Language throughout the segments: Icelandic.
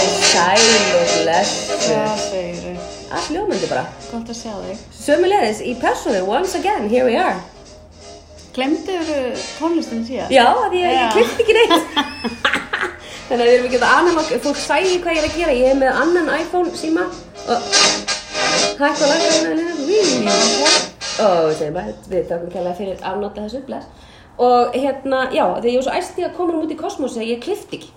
Sæl og blessuð. Hvað segirðu? Allt ljómandi bara. Gott að sjá þig. Sömulegis í personu, once again, here we are. Glemdiðu tónlistin síðan? Já, af því að Já. ég klippti ekki neitt. Þannig að við erum ekki að annan okkur, fólk sæði hvað ég er að gera. Ég er með annan iPhone síma og hægt og langar hérna hérna hérna. Og við segjum bara, við þökkum kærlega fyrir að nota þessu bless. Og hérna, já, þegar ég var svo æsti að koma út í kosmosi, ég klippti ekki.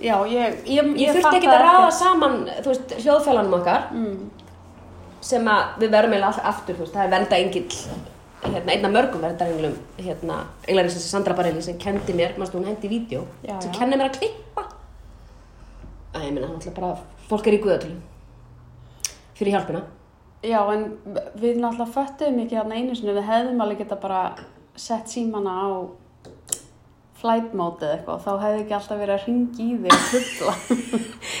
Já, ég, ég, Ég, þurfti ekki að ráða saman, þú veist, hljóðfælanum okkar. Mm. sem að við verðum eiginlega alltaf aftur, þú veist, það er verndaengill, hérna, einna mörgum verndaenglum, hérna, eiginlega sem Sandra Barelli sem kendi mér, mannstu hún hendi í vídeo, Já, sem já. kenni mér að klippa. Æ, ég minna, hann ætla bara, fólk er í guðatölu fyrir hjálpina. Já, en við náttúrulega föttuðum ekki þarna einu sinni. Við hefðum alveg geta bara sett símana á flight mode eða eitthvað. Þá hefði ekki alltaf verið að ringi í þig og hlutla.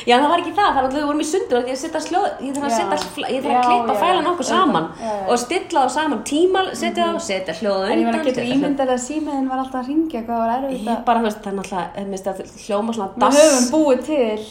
Já, það var ekki það, það var alltaf við vorum í sundur og ég setja sljóð, ég þarf að Já. setja, fl- ég þarf Já, að klippa já, fælan já. okkur saman Já, já. Mm. og stilla þá saman tímal, setja þá, setja hljóð en ég meina, undan, getur setja hljóð. ímyndað að símiðin var alltaf að ringja hvað var erfitt Ég að... bara, þú veist, það er náttúrulega, mér finnst það hljóma svona Við dass. höfum búið til,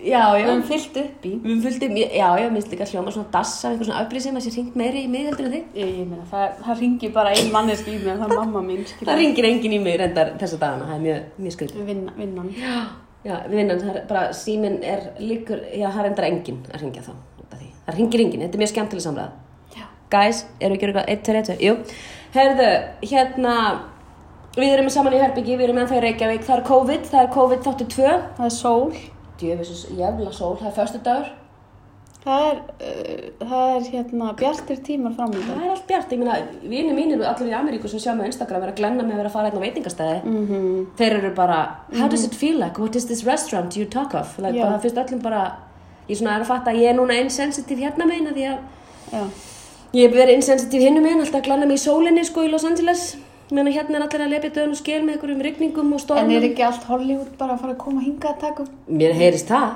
Já, við höfum fyllt upp í. Við fylgdum, já, já, minnst líka hljóma svona dass af einhver svona upplýsing að sér hringt meiri í mig heldur en þig. Ég, ég meina, það, það ringi bara ein manneski í mig, það er mamma mín, skilur. Það ringir enginn í mig reyndar þessa dagana, það er mjög, mjög skrítið. Vinna, vinnan. Já, já, við vinnan, það er bara, síminn er líkur, já, það er reyndar enginn að ringja þá, út af því. Það ringir enginn, þetta er mjög skemmtileg samræða. Já. Guys, erum við að gera eitthvað, 1, 2, 1, 2, jú. Herðu, hérna, við erum saman í Herbyggi, við erum ennþá í Reykjavík, það er COVID, það er COVID þáttu 2. Það er sól. Djöfis, jævla sól, það er föstudagur. Það er, uh, það er hérna bjartir tímar framöndan. Það er allt bjart, ég meina, vinir mínir og allir í Ameríku sem sjá með Instagram er að glenna með að vera að fara einn á veitingastæði. Mm. -hmm. Þeir eru bara, how does it feel like, what is this restaurant you talk of? Like, Já. bara, það finnst öllum bara, ég svona er að fatta að ég er núna insensitive hérna meina því að Já. ég er verið insensitive hinnum meina, alltaf að glenna mig í sólinni sko í Los Angeles. Meina hérna er allir að lepa í döðun og skil með einhverjum rigningum og En stormum. er ekki allt Hollywood bara að fara að koma hingað að taka upp Mér heyrist það,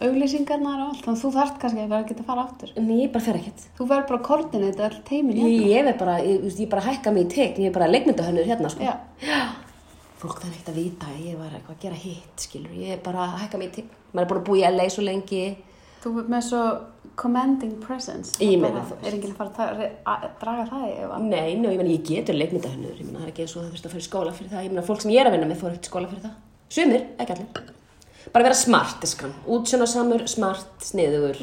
auglýsingarnar og allt? Þannig að þú þarft kannski að vera að geta að fara aftur. en ég bara fer ekkert. Þú verður bara að koordinata all teimin Ég, hérna. ég, er bara, ég, ég, ég bara hækka mig í tegn, ég er bara leikmyndahönnur hérna sko. Já. fólk þarf ekkert að vita að ég var eitthvað að gera hitt, skilur, ég er bara að hækka mig til, maður er búin að búa í LA svo lengi, Þú er með svo commanding presence. Ég meina þú. þú. Er enginn að fara að, ta- re- að draga það í efa? nei, njó, ég meina, ég getur leikmynda hennur, ég meina, það er ekki eins og það þurfti að fara í skóla fyrir það, ég meina, fólk sem ég er að vinna með fór ekkert í skóla fyrir það, sumir, ekki allir, bara vera smart, diskan, útsjónasamur, smart, sniðugur,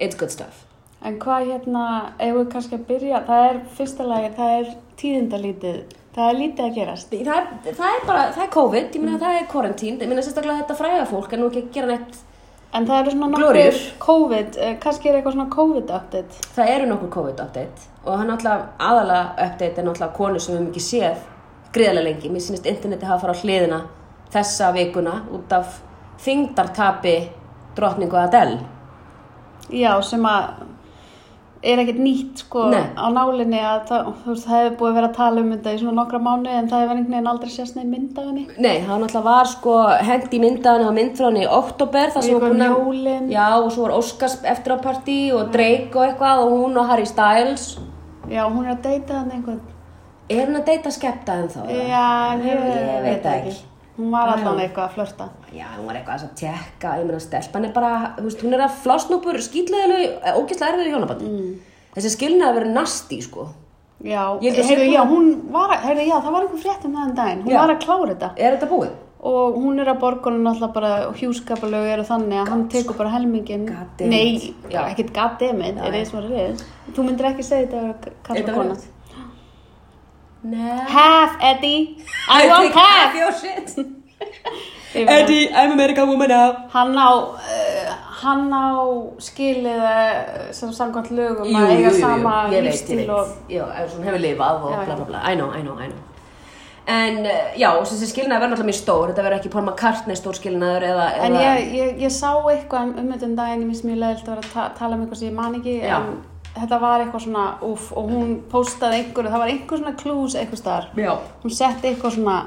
it's good stuff. En hvað hérna, ef við kannski að byrja, það er fyrsta lagi, það er tíðindalítið. Það er lítið að gerast. Það er, það er bara, það er COVID, ég meina, það er quarantine, ég meina, sérstaklega þetta fræða fólk er nú ekki að gera neitt, En það eru svona nokkur Glóríur. COVID, eh, kannski er eitthvað svona COVID-update. það eru nokkur COVID-update og hann alltaf aðalega update er náttúrulega konu sem við höfum ekki séð gríðarlega lengi. Mér sýnist interneti hafa farið á hliðina þessa vikuna út af þingdartapi drottningu Adele. Já, sem að er ekkert nýtt sko Nei. á nálinni að það, þú veist, það hefur búið að vera að tala um þetta í svona nokkra mánu en það hefur einhvern veginn aldrei sést neinn mynd af henni. Nei, hann alltaf var sko hent í myndaðan og mynd frá hann í oktober þar sem Eitthvað var um jólin. Já, og svo var Óskars eftir á partí og Drake og eitthvað og hún og Harry Styles. Já, hún er að deyta hann einhvern. Er hann að deyta skepta en þá? eða? Já, ég, ég veit það ekki. Hún var allan eitthvað að flörta. Já, hún var eitthvað að tjekka, ég meina stelpan er bara, þú veist, hún er að flásnúpur, skýtleðilegu, eh, ógeðslega erfiður í hjónabandi. Mm. Þessi skilnaði verið nasti, sko. Já, Ég held að heyrðu, sé- já, hún var að, heyrðu, já, það var einhver frétt um það en daginn. Hún Já. var að klára þetta. Er þetta búið? Og hún er að borgunum alltaf bara, og hjúskapalög eru þannig að hann tekur bara helmingin. Goddammit. Nei, Já. ekkert goddammit, er eins og er reyð. Þú myndir ekki segja þetta að vera Þetta kalla var kona. rétt. Nei. Half, Eddie. I want take half half. your shit. Ég meina, Eddie, I'm American woman now. Hann á, uh, hann á skilið eh, sem samkvæmt lögum að eiga sama ég veit, ég lífstíl veit. og... Já, ef hún hefur lifað og Já, já. bla bla bla, I know, I know, I know. En eh, já, og þessi skilnaði verður náttúrulega mjög stór, þetta verður ekki Paul McCartney stór skilnaður eða... En eða- ég, ég, ég sá eitthvað um umhundum daginn, ég minnst mjög leðilt að vera að ta tala um eitthvað sem ég man ekki, Já. en þetta var eitthvað svona, uff, og hún postaði einhverju, það var einhver svona klús eitthvað staðar. Já. Hún setti eitthvað svona,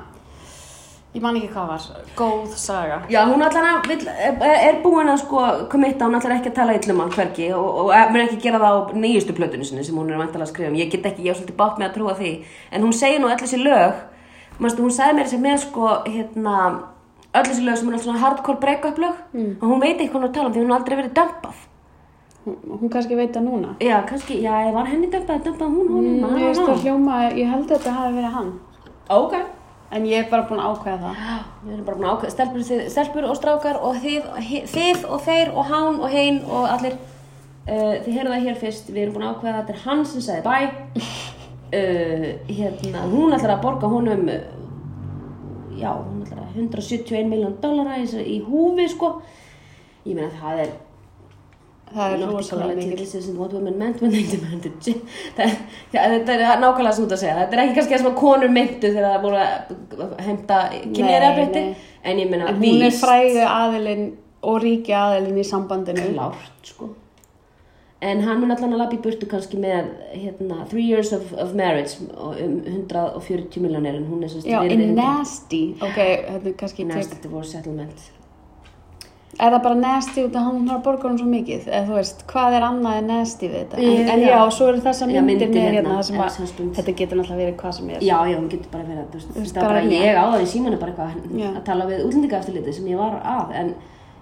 ég man ekki hvað var, góð saga. Já, hún allan að, vill, er er búin að sko komitta, hún allan ekki að tala illum hann hvergi og, og, og mun ekki gera það á nýjustu plötunni sinni sem hún er vantalega að skrifa um. Ég get ekki, ég er svolítið bátt með að trúa því. En hún segir nú allir þessi lög, manstu, hún sagði mér þessi með sko, hérna, öll þessi lög sem er alltaf svona hardcore break-up lög og hún veit eitthvað hún er að tala um því hún har aldrei verið dömpað Hún, hún kannski veit það núna. já, kannski, já, ef var henni dömpað, dömpað hún honum I don't Mér finnst það know. hljóma, ég held að þetta hafi verið hann. ok En ég er bara búin að ákveða það. við erum bara búin að ákveða stelpur, þið- stelpur og strákar og þið, hi- þið og þeir og hán og hein og allir uh, þið heyrðu það hér fyrst, við erum búin að ákveða að þetta er hann sem sagði bæ uh, hérna, hún ætlar að borga honum uh, já, hún ætlar að 171 miljón dólara í, í húfi sko ég meina það er Það er Not rosalega equality, mikil. This isn't what women meant when they demanded change. Það- það- Þetta er nákvæmlega svona að segja. Þetta er ekki kannski það sem að konur myndu þegar það voru að heimta kynjaðarabrétti. nei. En ég meina, En hún er víst, fræðu aðilinn og ríki aðilinn í sambandinu. klárt, sko. En hann mun allan að lappa í burtu kannski með hérna, three years of, of marriage og um 140 miljonir en hún er sérst Já, in nasty. Ok, þetta er kannski Nasty tek. divorce settlement. Er það bara nasty út af hann har borgarinn svo mikið? Eða þú veist, hvað er annað en nasty við þetta? En, Eh, en já. já, svo eru Já, þessar myndir, myndir með hérna, hérna, það sem en að sem stund. þetta getur náttúrulega verið hvað sem er. Já, já, hún getur bara verið að, þú veist, veist, það er bara, bara- ég á það í símanu bara eitthvað Já. að tala við útlendingaeftirliti sem ég var að, en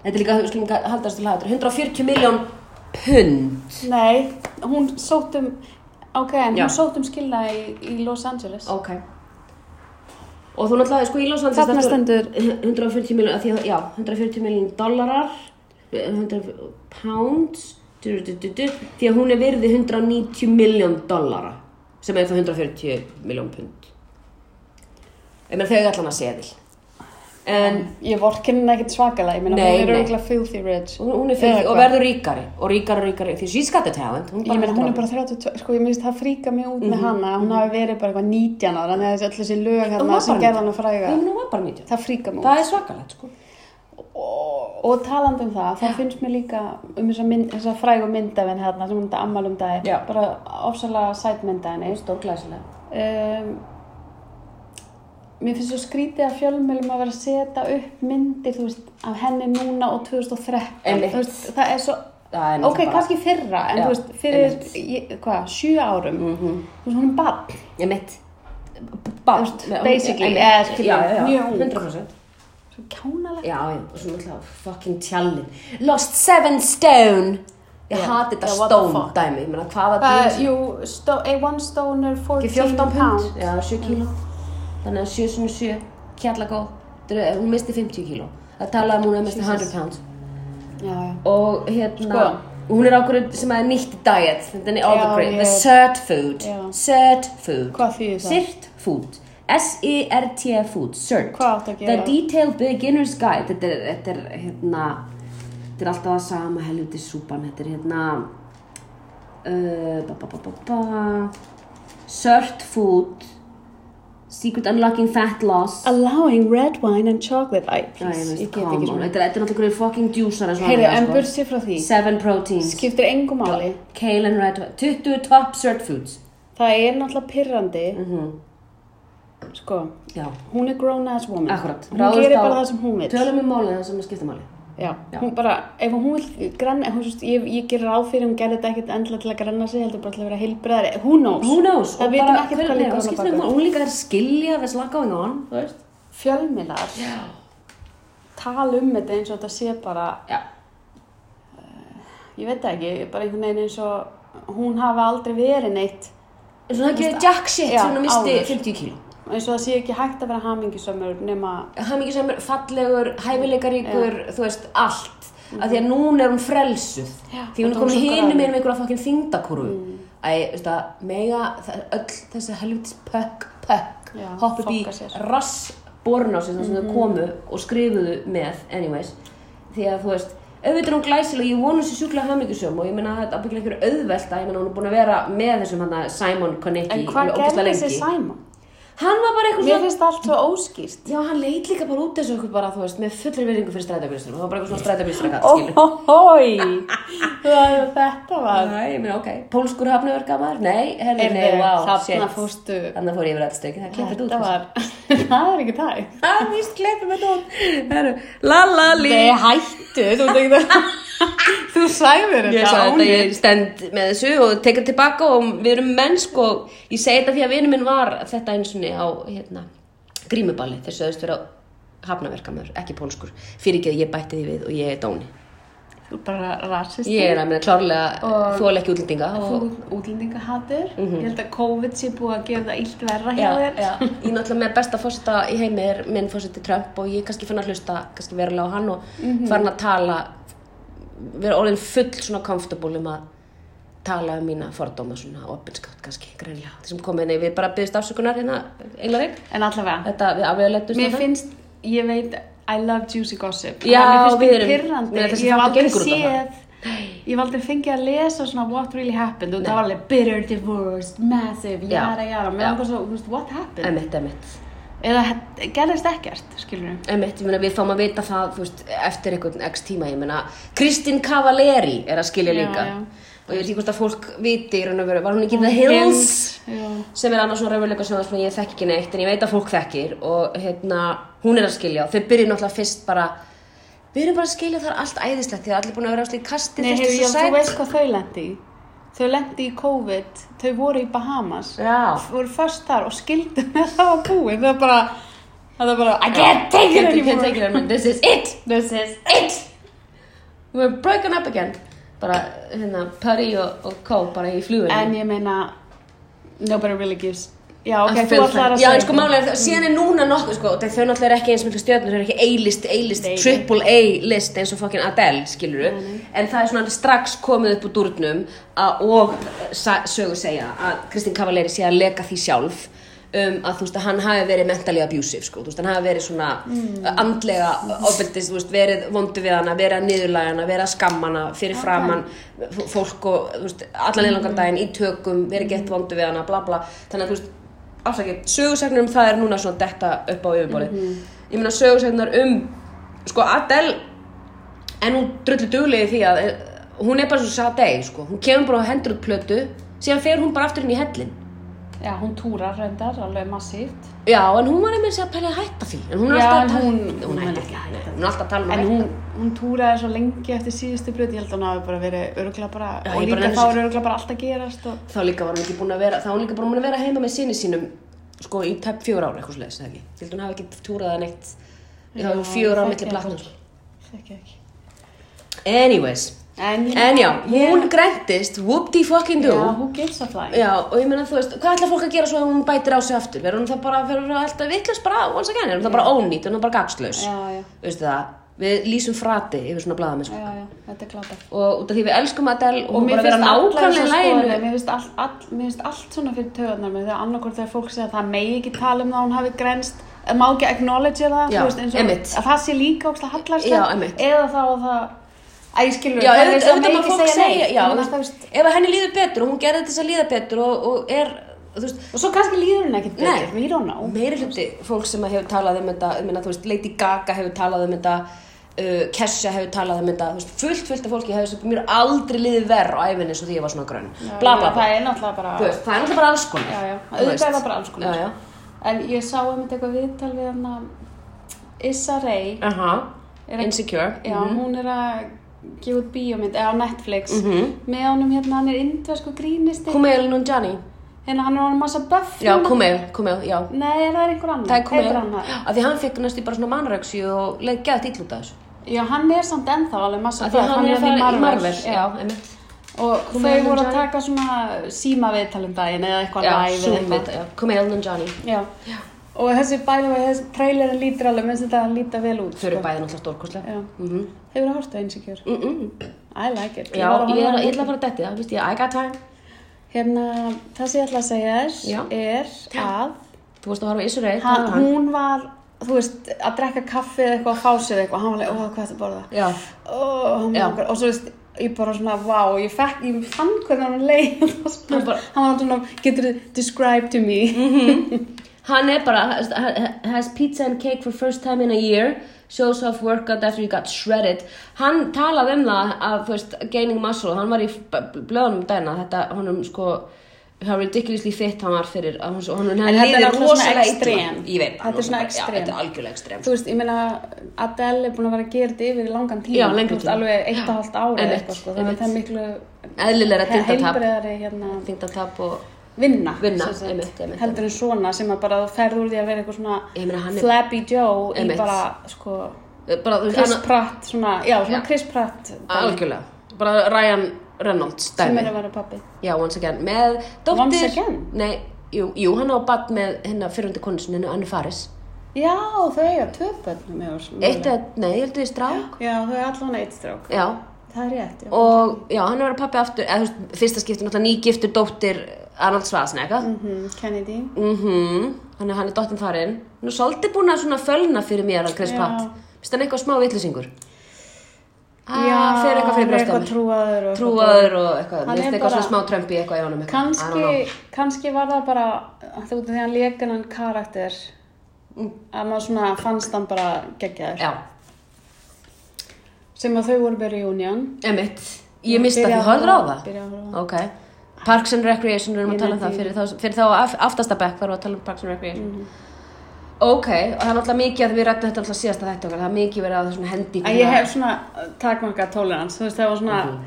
þetta er líka, við skulum líka haldast til hættur, 140 miljón pund. Nei, hún sótt um, ok, en Já. hún sótt um skilna í, í Los Angeles. Ok. Og þú náttúrulega, sko, í Los Angeles, Þarna stendur- 140 miljón, að því að, já, 140 miljón dollarar, 100 pounds, du, du, du, du, því að hún er virði 190 miljón dollara, sem er þá 140 miljón pund. Ég meina, þau er allan að seðil. En, Ég vorkinn ekkert svakalega, ég meina Nei, hún er nei. örgulega filthy rich. Hún, hún er fyrir, Eða og hvað? verður ríkari og ríkari og ríkari því she's got the talent hún Ég meina hún er heldur bara 32, sko ég minnst það fríka mig út með hana, hún hafi verið bara eitthvað 19 ára, þannig að þessi öll þessi lög Mhm. Hún hérna var sem bara gerða hana áfram. fræga, Nei, hún var bara 19 það fríka mig út. það er svakalegt sko Og, og talandi um það, það finnst mér líka um þessa, mynd, þessa frægu myndafinn hérna sem hún þetta ammal um daginn, Já. bara ofsalega sæt myndafinni. stórglæsilega Um, mér finnst svo skrítið að fjölmjölum að vera að setja upp myndir, þú veist, af henni núna og 2013. Einmitt. Þú veist, það er svo, Það er náttúrulega ok, bara- kannski fyrra, en Já, þú veist, fyrir, einmitt. Mhm. ég- hvað, sjö árum, -hmm. þú veist, hún er barn. ég mitt bát Þú veist, basically, Einmitt. eða skilur, já, já, já, mjög ung. 100% Svo kjánalegt. já, já, og svo náttúrulega fucking tjallin lost seven stone ég Já. hati þetta Já, what the stone fuck. dæmi ég meina hvaða Uh, dýr- jú, sto, a eh, one stoner, 14, ekki 14 pound. pund já, 7 kíló þannig að 7 sem 7 kjalla góð hún misti 50 kíló það talaði um hún að misti 100 pounds Já, já. og hérna Sko. hún er ákveður sem að nýtt diet þetta er all the Já, great, the ég- cert food Já. cert food Hvað þýðir það? cert food S-E-R-T food, cert Hvað áttu að the gera? detailed beginner's guide þetta er, þetta er hérna þetta er alltaf að sama helviti súpan þetta er hérna uh, ba, ba, ba, ba, ba. cert food secret unlocking fat loss Allowing red wine and chocolate. Æ, Æ, ég please, veist, ég get come ekki on. svona. þetta er þetta er náttúrulega einhverjir fucking djúsar Heyrðu, en bursi frá því, sko. Seven proteins. skiptir engum máli. Kale and red wine. 20 top cert foods. Það er náttúrulega pirrandi, Mhm. sko, Já, hún er grown ass woman. akkurat. Hún gerir bara það sem hún vil. Tölum um málið það sem að skipta máli. Já, Já. hún bara, ef hún vil granna, hún, svo, ég, ég gerir ráð fyrir, hún gerði þetta ekkert endilega til að granna sig, heldur bara til að vera heilbreðari. Who knows? Who knows? Það Og vitum bara- ekkert hver- hvað nei, liggur það hún á skiptir bak við. engu máli. Hún líka er að skilja þess laga going on, þú veist. Fjölmiðlar tala um þetta eins og þetta sé bara, Já. ég veit það ekki, bara einhvern veginn eins og hún hafi aldrei verið neitt, En svona það gerir jack shit Já, sem hún misti áður. 50 kíló. eins og það sé ekki hægt að vera hamingisömmur nema Það mikið sem er fallegur, hæfileikaríkur, þú veist, allt. Af því að núna er hún frelsuð. Já, því hún þetta er var komin svo hinum græn. með einhverja fokkin þingdakurvu. Mm. Æ, veist það, mega, það er öll þessi helvitis pökk, pökk, Já, hoppa upp í fokka sér. Mm. rass borun á sig þar sem þau komu og skrifuðu með, anyways. Því að þú veist, auðvitað er hún glæsileg, ég vonu sér sjúklega hamingjusum og ég meina að þetta er byggja einhverju auðvelta, ég meina hún er búin að vera með þessum hann Simon Konecki En hvað alveg gerði ógeðslega þessi lengi. Simon? Hann var bara eitthvað Mér finnst allt svo óskýrt. Já, hann leit líka bara út þessu okkur bara, þú veist, með fullri virðingu fyrir strætabýrstunum. Það var bara eitthvað svona strætabýrstunum, skilu. Óhói! Þetta var... Nei, ég meina, ok. Pólskur hafnöfur gamar? Nei, herri, nei, wow, Þarna shit. fóstu... Þannig fór ég yfir þetta stökið, það klippið út. Þetta var... Það er ekki það. Það víst klippið þetta út. Herru, la la li. Nei, hættu, þú veit ekki það. Þú sæður þetta. Ég sagði þetta, ónýtt. ég stend með þessu og teka tilbaka og við erum sko. mennsk og ég segi þetta því að vinur minn var þetta eins og á, hérna, grímuballi. Þeir sögðust vera hafnaverkamör, ekki pólskur fyrir ekki að ég bætti því við og ég er dóni Þú er bara rasist ég er að meina klárlega Og- þól ekki útlendinga Þú og útlendingahatur Ég held að COVID sé búið að gera það illt verra hjá Mhm. Já, þér já. Ég náttúrulega með besta fósita í heimi er minn fósiti Trump og ég er kannski fann að hlusta kannski verulega á hann og Mhm. farin að tala vera orðin full svona comfortable um að tala um mína fordóma svona opinskátt kannski greinlega því sem komið inn við bara byggðist afsökunar hérna englarinn En allavega, þetta við afvega lettum mér finnst, ég veit I love juicy gossip Já, Þannig að við mér erum- finnst Nei, mér pyrrandi þessi Ég hef þáttur aldrei gengur út á það. séð Ég hef aldrei fengið að lesa svona what really happened og það var alveg bitter divorce, massive, Já. jara jara Mér Já. langar svo, þú veist, what happened? emitt, emitt Eða he- gerðist ekkert, skilur við Einmitt, ég meina, við fáum að vita það þú veist, eftir einhvern x tíma ég meina, Kristín Cavaleri er að skilja Já, líka já. og ég veit ekki hvort að fólk viti í raun og veru, var hún ekki í The Hills sem er annars svona raunveruleika sem að ég þekki ekki neitt en ég veit að fólk þekkir og hérna, hún er að skilja og þau byrjum náttúrulega fyrst bara við erum bara að skilja þar allt æðislegt því að allir búin að vera á slík kasti Nei, fyrst hefur og ég, svo þú sæt. veist hvað þau lendi í? Þau lendi í COVID, þau voru í Bahamas, Já. voru först þar og skildu með það var búið. Það var bara, það var bara, I can't take it Can't- can't anymore. take it anymore. this is it This is it we're broken up again bara hérna Purry og, og Co bara í fluginu En ég meina, nobody really gives. Já, ok, Að þú fylgja- ætlar að Já, en sko málega er það, síðan er núna nokkuð sko, þau þau náttúrulega er ekki eins miklu stjörnur, þau eru ekki A-list, A-list, Nei. triple A-list eins og fokkin Adele, skilur en það er svona strax komið upp úr durnum að, og sa- sögur segja að Kristín Cavaleri sé að leka því sjálf um, að þú veist að hann hafi verið mentally abusive, sko, þú veist, hann hafi verið svona Mm. andlega ofbeldis, þú veist, verið vondu við hana, verið að niðurlæga hana, verið að skamma hana fyrir framann f- fólk og, þú veist, allan einlangan daginn í tökum, verið gett vondu við hana, bla bla, þannig að, þú veist, afsakið, sögursagnir um það er núna svona detta upp á yfirborði Mhm. ég meina sögursagnir um sko Adele en hún drullu duglegi því að eh, hún er bara svo sadei sko, hún kemur bara og hendur út plötu síðan fer hún bara aftur inn í hellin Já, hún túrar reyndar, alveg massíft. já, en hún var einmitt að pæla að hætta því en hún er Já, alltaf að en tala hún- hún, hún hætti mun ekki, ekki nei, hætta. hún er alltaf að tala um En að hún, hætta hún túraði svo lengi eftir síðustu bröð, ég held að hún hafi bara verið örgla bara, Já, og ég bara líka nenni þá þessu- er örgla bara allt að gerast og... þá líka var hún ekki búin að vera þá var hún líka bara búin að vera heima með sinni sínum sko í tæp fjögur ára eitthvað slegis ég held hún hafi ekki túrað að neitt þá var fjögur Já, ára milli sko. þekki platna ekki. Þekki ekki. sko. anyways En, En já, hún græntist, whoop-dee fucking do. Já, Já. who gives a fly? og ég meina, þú veist, hvað ætlar fólk að gera svo að hún bætir á sig aftur? Verður hún það bara, verður hún alltaf vittlust bara, once again, er hún það bara ónýtt, er hún bara gagslaus? Já, já, Veistu það, við lýsum frati yfir svona blaðamennsku. já, já, þetta er glata. Og út af því við elskum Adele og, Og hún mér bara finnst vera nákvæmlega í allar þessar læginu. skoðanir, mér finnst all, all, mér finnst allt svona fyrir töðunar mér þegar annarkort þegar fólk segja að það megi ekki tala um það að hún hafi grenst, að má ekki acknowledge það, Já, þú veist, eins og einmitt. að það sé líka ógst að Já, hallarslegt, einmitt. eða þá að það, að ég skilur, Já, það er auðvitað þess að auðvitað megi maður ekki fólk segja segja, neitt, já, en þú það, veist, ef að henni líður betur og hún gerði þetta þess að líða betur og, og er, þú veist, og svo kannski líður hún ekkert Nei. betur, we don't know. meiri hluti fólk sem hefur talað um þetta, ég meina, þú veist, Lady Gaga hefur talað um þetta, uh, Kesha hefur talað um þetta, þú veist, fullt, fullt af fólki hefur sem mér aldrei liðið verð á æfinni eins og því ég var svona grönn, Já, bla já, bla bla, Það er náttúrulega bara... þú veist, það er náttúrulega bara alls konar. já, já, Þú auðvitað veist. er það bara alls konar Já, já. en ég sá einmitt eitthvað viðtal við hann að Issa Rae Aha, Er ekki- insecure. já, hún er að gefa út bíómynd eða á Netflix Mhm. með honum hérna, hann er indversku grínisti Kumail Nunjani, hérna hann er honum massa buff já, núna. Kumail, Kumail, já. nei, það er einhver annar Það er Kumail, Heitir hann það? af því hann fekk næstu bara svona mannröksi og leið gæðt ítl út af þessu. já, hann er samt ennþá alveg massa Af því hann er að hann hérna fara í Marvel, já, einmitt. og Kumail þau voru að Nanjiani. taka svona síma viðtalum daginn eða eitthvað Já, live eða Zoom, eitthvað. já, Kumail Nunjani. já, og þessi bæði og þessi trailerin lítur alveg, minnst þetta að líta vel út sko. Þau eru bæði náttúrulega stórkostlega. Já. Mhm. Hefur það hort á Insecure? Mm -mm. I like it. Já, var að ég er horfa á ég ætla að fara að detti það, veist ég, I got time. Hérna, það sem ég ætla að segja Já. þér er að Þú varst að horfa á Israel, hann, það hún var, þú veist, að drekka kaffi eða eitthvað, fá sér eitthvað, hann var alveg, ó, hvað ertu að borða? Já, Ó, hann Já. langar, og svo veist, ég bara svona, vá, ég fekk, ég fann hvernig hann leið, og það Hann spurði, bara- Mhm. hann var svona, getur þið describe to me? hann er bara, has, has pizza and cake for first time in a year, shows off workout after he got shredded. Hann talaði um það að, þú veist, gaining muscle, hann var í b- b- blöðunum dæna, þetta, honum sko, hann var ridiculously fit hann var fyrir, að hún, honum, hann En þetta er líður náttúrulega svona rosalega illa. extreme. Ég veit, Þetta er svona Já, extreme. þetta er algjörlega ekstrem. Þú veist, ég meina, Adele er búin að vera að gera þetta yfir í langan tíma, Já, lengan Þú veist, tíma. alveg eitt og hálft ári Einmitt, eitthvað, sko, þannig einmitt. að það er miklu Eðlilega tindatap, heilbreðari, hérna, tindatap og vinna, Vinna, sem sagt. einmitt, einmitt, heldur en svona sem að bara þú ferð úr því að vera eitthvað svona Ég meina, hann er- flabby joe Einmitt. í bara sko bara, þú veist, Chris annað- Pratt svona, já, svona Já. Chris Pratt algjörlega bara Ryan Reynolds sem dæmi er að vera pappi já, once again, með dóttir Once again? nei, jú, jú hann á badd með hérna fyrrundi konusinu, Annu Faris já, þau eiga tvö börn með oss eitt eða, nei, ég held við strák já, þau er allan eitt strák já, það er rétt, já og já, hann er að vera pappi aftur eða, þú veist, fyrsta skipti, náttúrulega nýgiftur dóttir Arnold Schwarzenegger mm Kennedy mhm, hann er, hann er dóttin farin nú svolítið búin að svona fölna fyrir mér að Chris Já. Pratt, finnst hann eitthvað smá vitlusingur Já, fyrir Ah, eitthvað fyrir hann brjóst er á eitthvað mér trúaður og trúaður og eitthvað, Hann mér finnst er eitthvað bara- svona smá trömpi eitthvað í honum eitthvað. I don't know. kannski, kannski var það bara þú út af því að hann leikinan karakter að maður svona fannst hann bara geggjaður Mm. já, sem að þau voru bara í union emitt, ég mista því, Byrja að horfður á horfa- það byrja að horfa á ok, Parks and Recreation erum Ég að tala um nefndi það, því. fyrir þá, fyrir þá af- aftasta bekk þarf að tala um Parks and Recreation Mhm. ok, og það er alltaf mikið að við rættum þetta alltaf síðasta þetta okkar, það er mikið verið að svona hendi í að svona- ég hef svona takmarka tolerans þú veist það var svona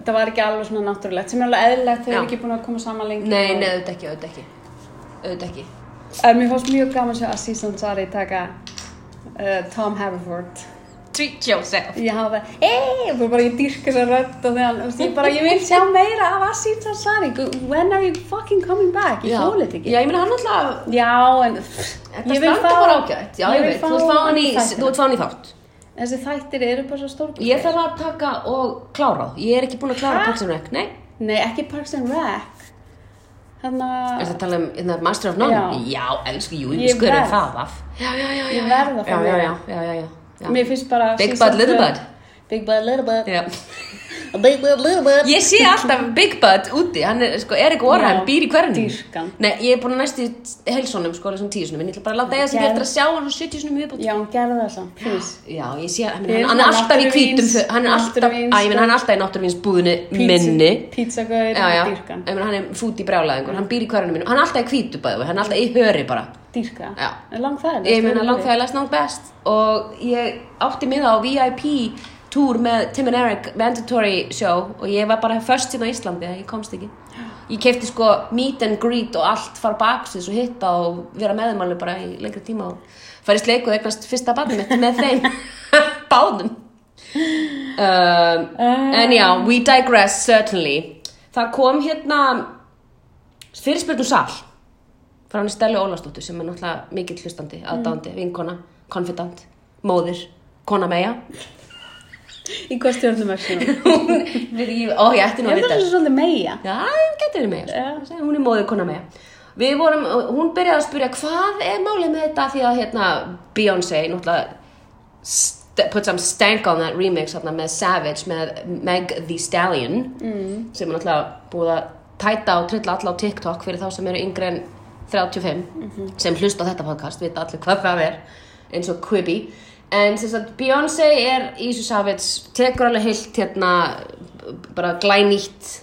þetta var ekki alveg svona náttúrulegt sem er alveg eðlilegt þau Já. eru ekki búin að koma saman lengi nei, og- nei, auðvitað ekki, auðvitað ekki auðvitað ekki en mér fannst mjög gaman sér að Season Sari taka uh, Tom Haverford treat yourself Ég hafa það, eeeeh, þú bara ég dýrk þess að rödd og þegar, þú veist, ég bara, ég vil sjá meira af Asim Sansari, when are you fucking coming back, ég hjóla þetta ekki. Já, ég meina hann alltaf Já, en pff, Þetta standa bara ágætt Já, ég, veit, þú ert fáin í, þættina. þú ert fáin í þátt Þessi þættir eru bara svo stór Ég þarf að taka og klára þá Ég er ekki búin að klára Ha? Parks and Rec, nei Nei, ekki Parks and Rec Þannig Er að þetta að tala um hérna, Master of None? Já. Já, elsku, jú, Ég ég skur verð. það af Já, já, já, já Ég verð að fá já, já, meira. já, já, já, já, já. mér finnst bara Big season Bud, Little tvö- Bud. Big Bud, Little Bud Já. A Big Bud, Little Bud Ég sé alltaf Big Bud úti, hann er, sko, Erik Orheim, Já, býr í hvernig dýrkan. Nei, ég er búin að næstu í heilsónum, sko, þessum tíusunum En ég ætla bara að láta eða sem ég Gerð. eftir að sjá hann 70 sunum viðbútt Já, hún gerði það samt, please Já, ég sé, hann, hann, Ég er hann er svona alltaf í náttúruvíns- hvítum föt- hann er alltaf, náttúruvíns- að ég menn hann er alltaf í náttúruvíns búðinu minni Pizzagauður, Já, já, dýrkan ég menn hann er fút í brjálæðingur, hann býr í hverjunum minni hann er alltaf í hvítu bæðu, hann er alltaf í höri bara Dýrka, Já. er langt það Ég menn að langt þegar lest nátt best og ég átti með það á VIP túr með Tim and Eric mandatory show og ég var bara först síðan á Íslandi, ég komst ekki Ég kefti sko meet and greet og allt fara baksis og hitta og vera með þeim alveg bara í lengri tíma og færist leik og eignast fyrsta barnum mitt með þeim báðum um, En já, we digress certainly Það kom hérna fyrirspyrnum sal frá hann Stellu Ólafsdóttur sem er náttúrulega mikill hlustandi, aðdáandi, Mm. vinkona, konfidant, móðir, kona meja. Í hvað stjórnum er svona? Við, ég, ó, ég ætti nú að Ég var vita. þessu svolítið meia Já, hún getur verið meja. Já. sko. Hún er móðir, kona meja. Við vorum, hún byrjaði að spyrja hvað er málið með þetta því að hérna Beyoncé náttúrulega st- put some stank on that remix hérna, með Savage, með Meg the Stallion mm. sem er náttúrulega búið að tæta og trilla alla á TikTok fyrir þá sem eru yngri en 35 Mhm. sem hlusta á þetta podcast, vita allir hvað það er eins og Quibi en sem sagt Beyoncé er í þessu Savage tekur alveg heilt hérna b- bara glænýtt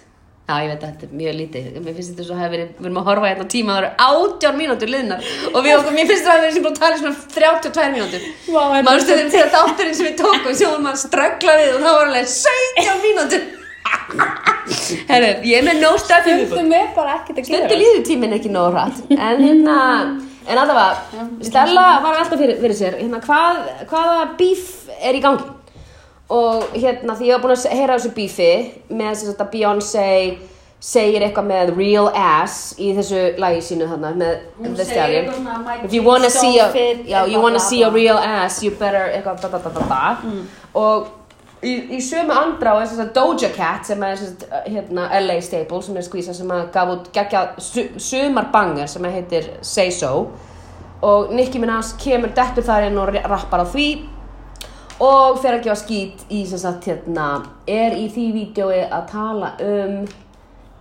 Já, ég veit að þetta er mjög lítið. Mér finnst þetta svo að hafa verið, við erum að horfa hérna á tíma, það eru 18 mínútur liðnar og við okkur, mér finnst það að hafa verið sem búin að tala í svona 32 mínútur. Vá, þetta er Manstu þegar til að þátturinn sem við tókum sem vorum að ströggla við og það var alveg 17 mínútur Herru, ég er með no stuff in me Stundum er bara ekkert að gera Stundu líður tíminn ekki nóg hratt En hérna, en allavega Stella var alltaf fyrir, fyrir sér hérna, hvað, Hvaða bíf er í gangi? Og hérna, því ég var búin að heyra af þessu bífi með þess að Beyoncé segir eitthvað með real ass í þessu lagi sínu þarna með Hún The segir Stallion eitthvað svona, "My If you dick's wanna so see a, fit," já, you blah, wanna blah, see a blah. Mm. real ass you better eitthvað da, da, da, da, da. og í, í sömu andrá er þess að Doja Cat sem er þess að hérna, LA Staple sem er skvísa sem að gaf út geggja su, sumar banger sem að heitir Say So og Nicki Minaj kemur dettur þar inn og re- rappar á því og fer að gefa skít í sem sagt hérna er í því vídjói að tala um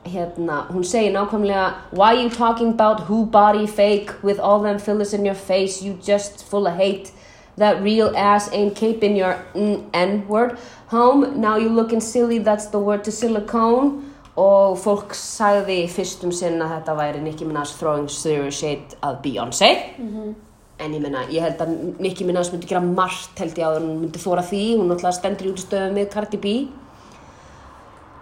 hérna, hún segir nákvæmlega Why you talking about who body fake with all them fillers in your face you just full of hate that real ass ain't keeping your n- n-word home now you looking silly that's the word to silicone og fólk sagði fyrst um sinn að þetta væri Nicki Minaj throwing zero shade að Beyoncé en ég meina, ég held að Nicki Minaj myndi gera margt held ég að hún myndi þóra því hún náttúrulega stendur í útistöðum með Cardi B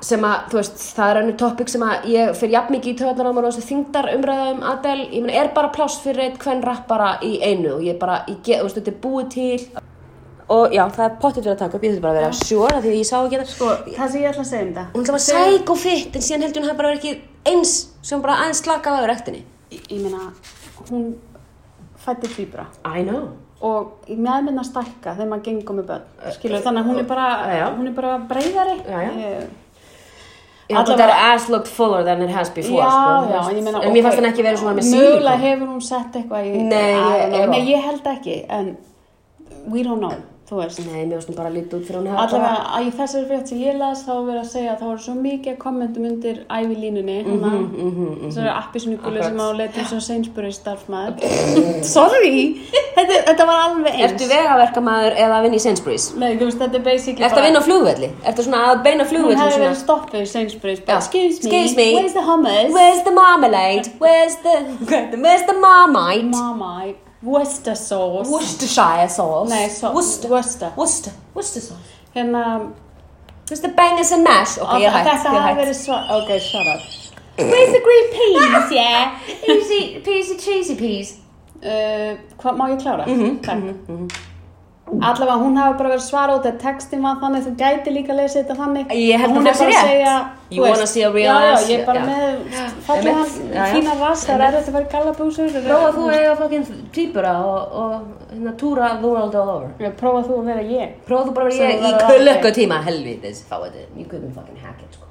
sem að, þú veist, það er önnu topic sem að ég fyrir jafn mikið í töðanar á mér og þessu þingdar umræðum Adele, ég meina, er bara pláss fyrir eitt hvern rappara í einu og ég bara, ég get, þú veist, þetta er búið til og já, það er pottitt verið að taka upp, ég þurfti bara að vera sjóra því að ég sá ekki þetta Sko, það sem ég ætla að segja um þetta. hún var Þau- sæk og fitt en síðan heldur hún að hafa bara verið ekki eins sem bara aðeins slakað á rektinni Ég, ég meina, hún fætti fýbra I know og ég með minna stækka þegar maður gengur með börn. Skilur, þannig að hún er bara, Já, já. hún er bara breyðari. Já, já. Ég- Já, Alla þetta er vega- as looked fuller than it has before já, sko, þú já, veist. en ég meina en mér fannst hann ekki verið svona með Mögulega sílikon hefur hún sett eitthvað í Nei, I don't ég know. efa. Nei, ég held ekki, en we don't know, þú veist Nei, mér fannst hún bara lítið út fyrir hún hafi Allavega, bara- að í þessari frétt sem ég las þá var verið að segja að það voru svo mikið kommentum undir ævilínunni mm -hmm, mm -hmm, þessari appisnugulu sem á Mhm, Akkurat. leitum sem Sainsbury starfmaður Sorry, þetta, þetta var alveg eins Ertu vegaverkamaður eða að vinna í Sainsbury's? Nei, þú veist, þetta er basically Ertu að vinna á flugvelli? Ertu svona að beina Hún flugvelli hefði svona verið stoppuð í Sainsbury's Já. bara, Excuse me, Excuse me. where's the hummus? Where's the marmalade? Where's the, where's the marmite? Mama, Worcester sauce Worcestershire sauce Nei, so, Worcester Worcester. Worcester Worcester sauce Hérna, Where's the bangers and mash? Ok, og ég er hægt, þetta ég er hafi hægt verið svar... Ok, shut up. Where's the green peas, yeah? Easy peasy cheesy peas Uh, hvað má ég klára? Mm Mhm, -hmm, Takk. Allavega, hún hafi bara verið svara út að textin var þannig, þú gæti líka að lesa þetta þannig. Ég held Og að hún er það sé bara að rétt. segja... You þú veist, wanna see a real Já, ass? já, ég er bara Já. með fallið Einmitt, já, já. hann fína rastar, er þetta verið gallabúsur? Prófa þú að eiga fucking týpura og, og hérna túra the world all over Já, Prófa þú að vera ég. Prófa þú bara að Sem vera ég verður í aldrei. kulökku tíma Helvitis, fá þetta You couldn't fucking hack it, sko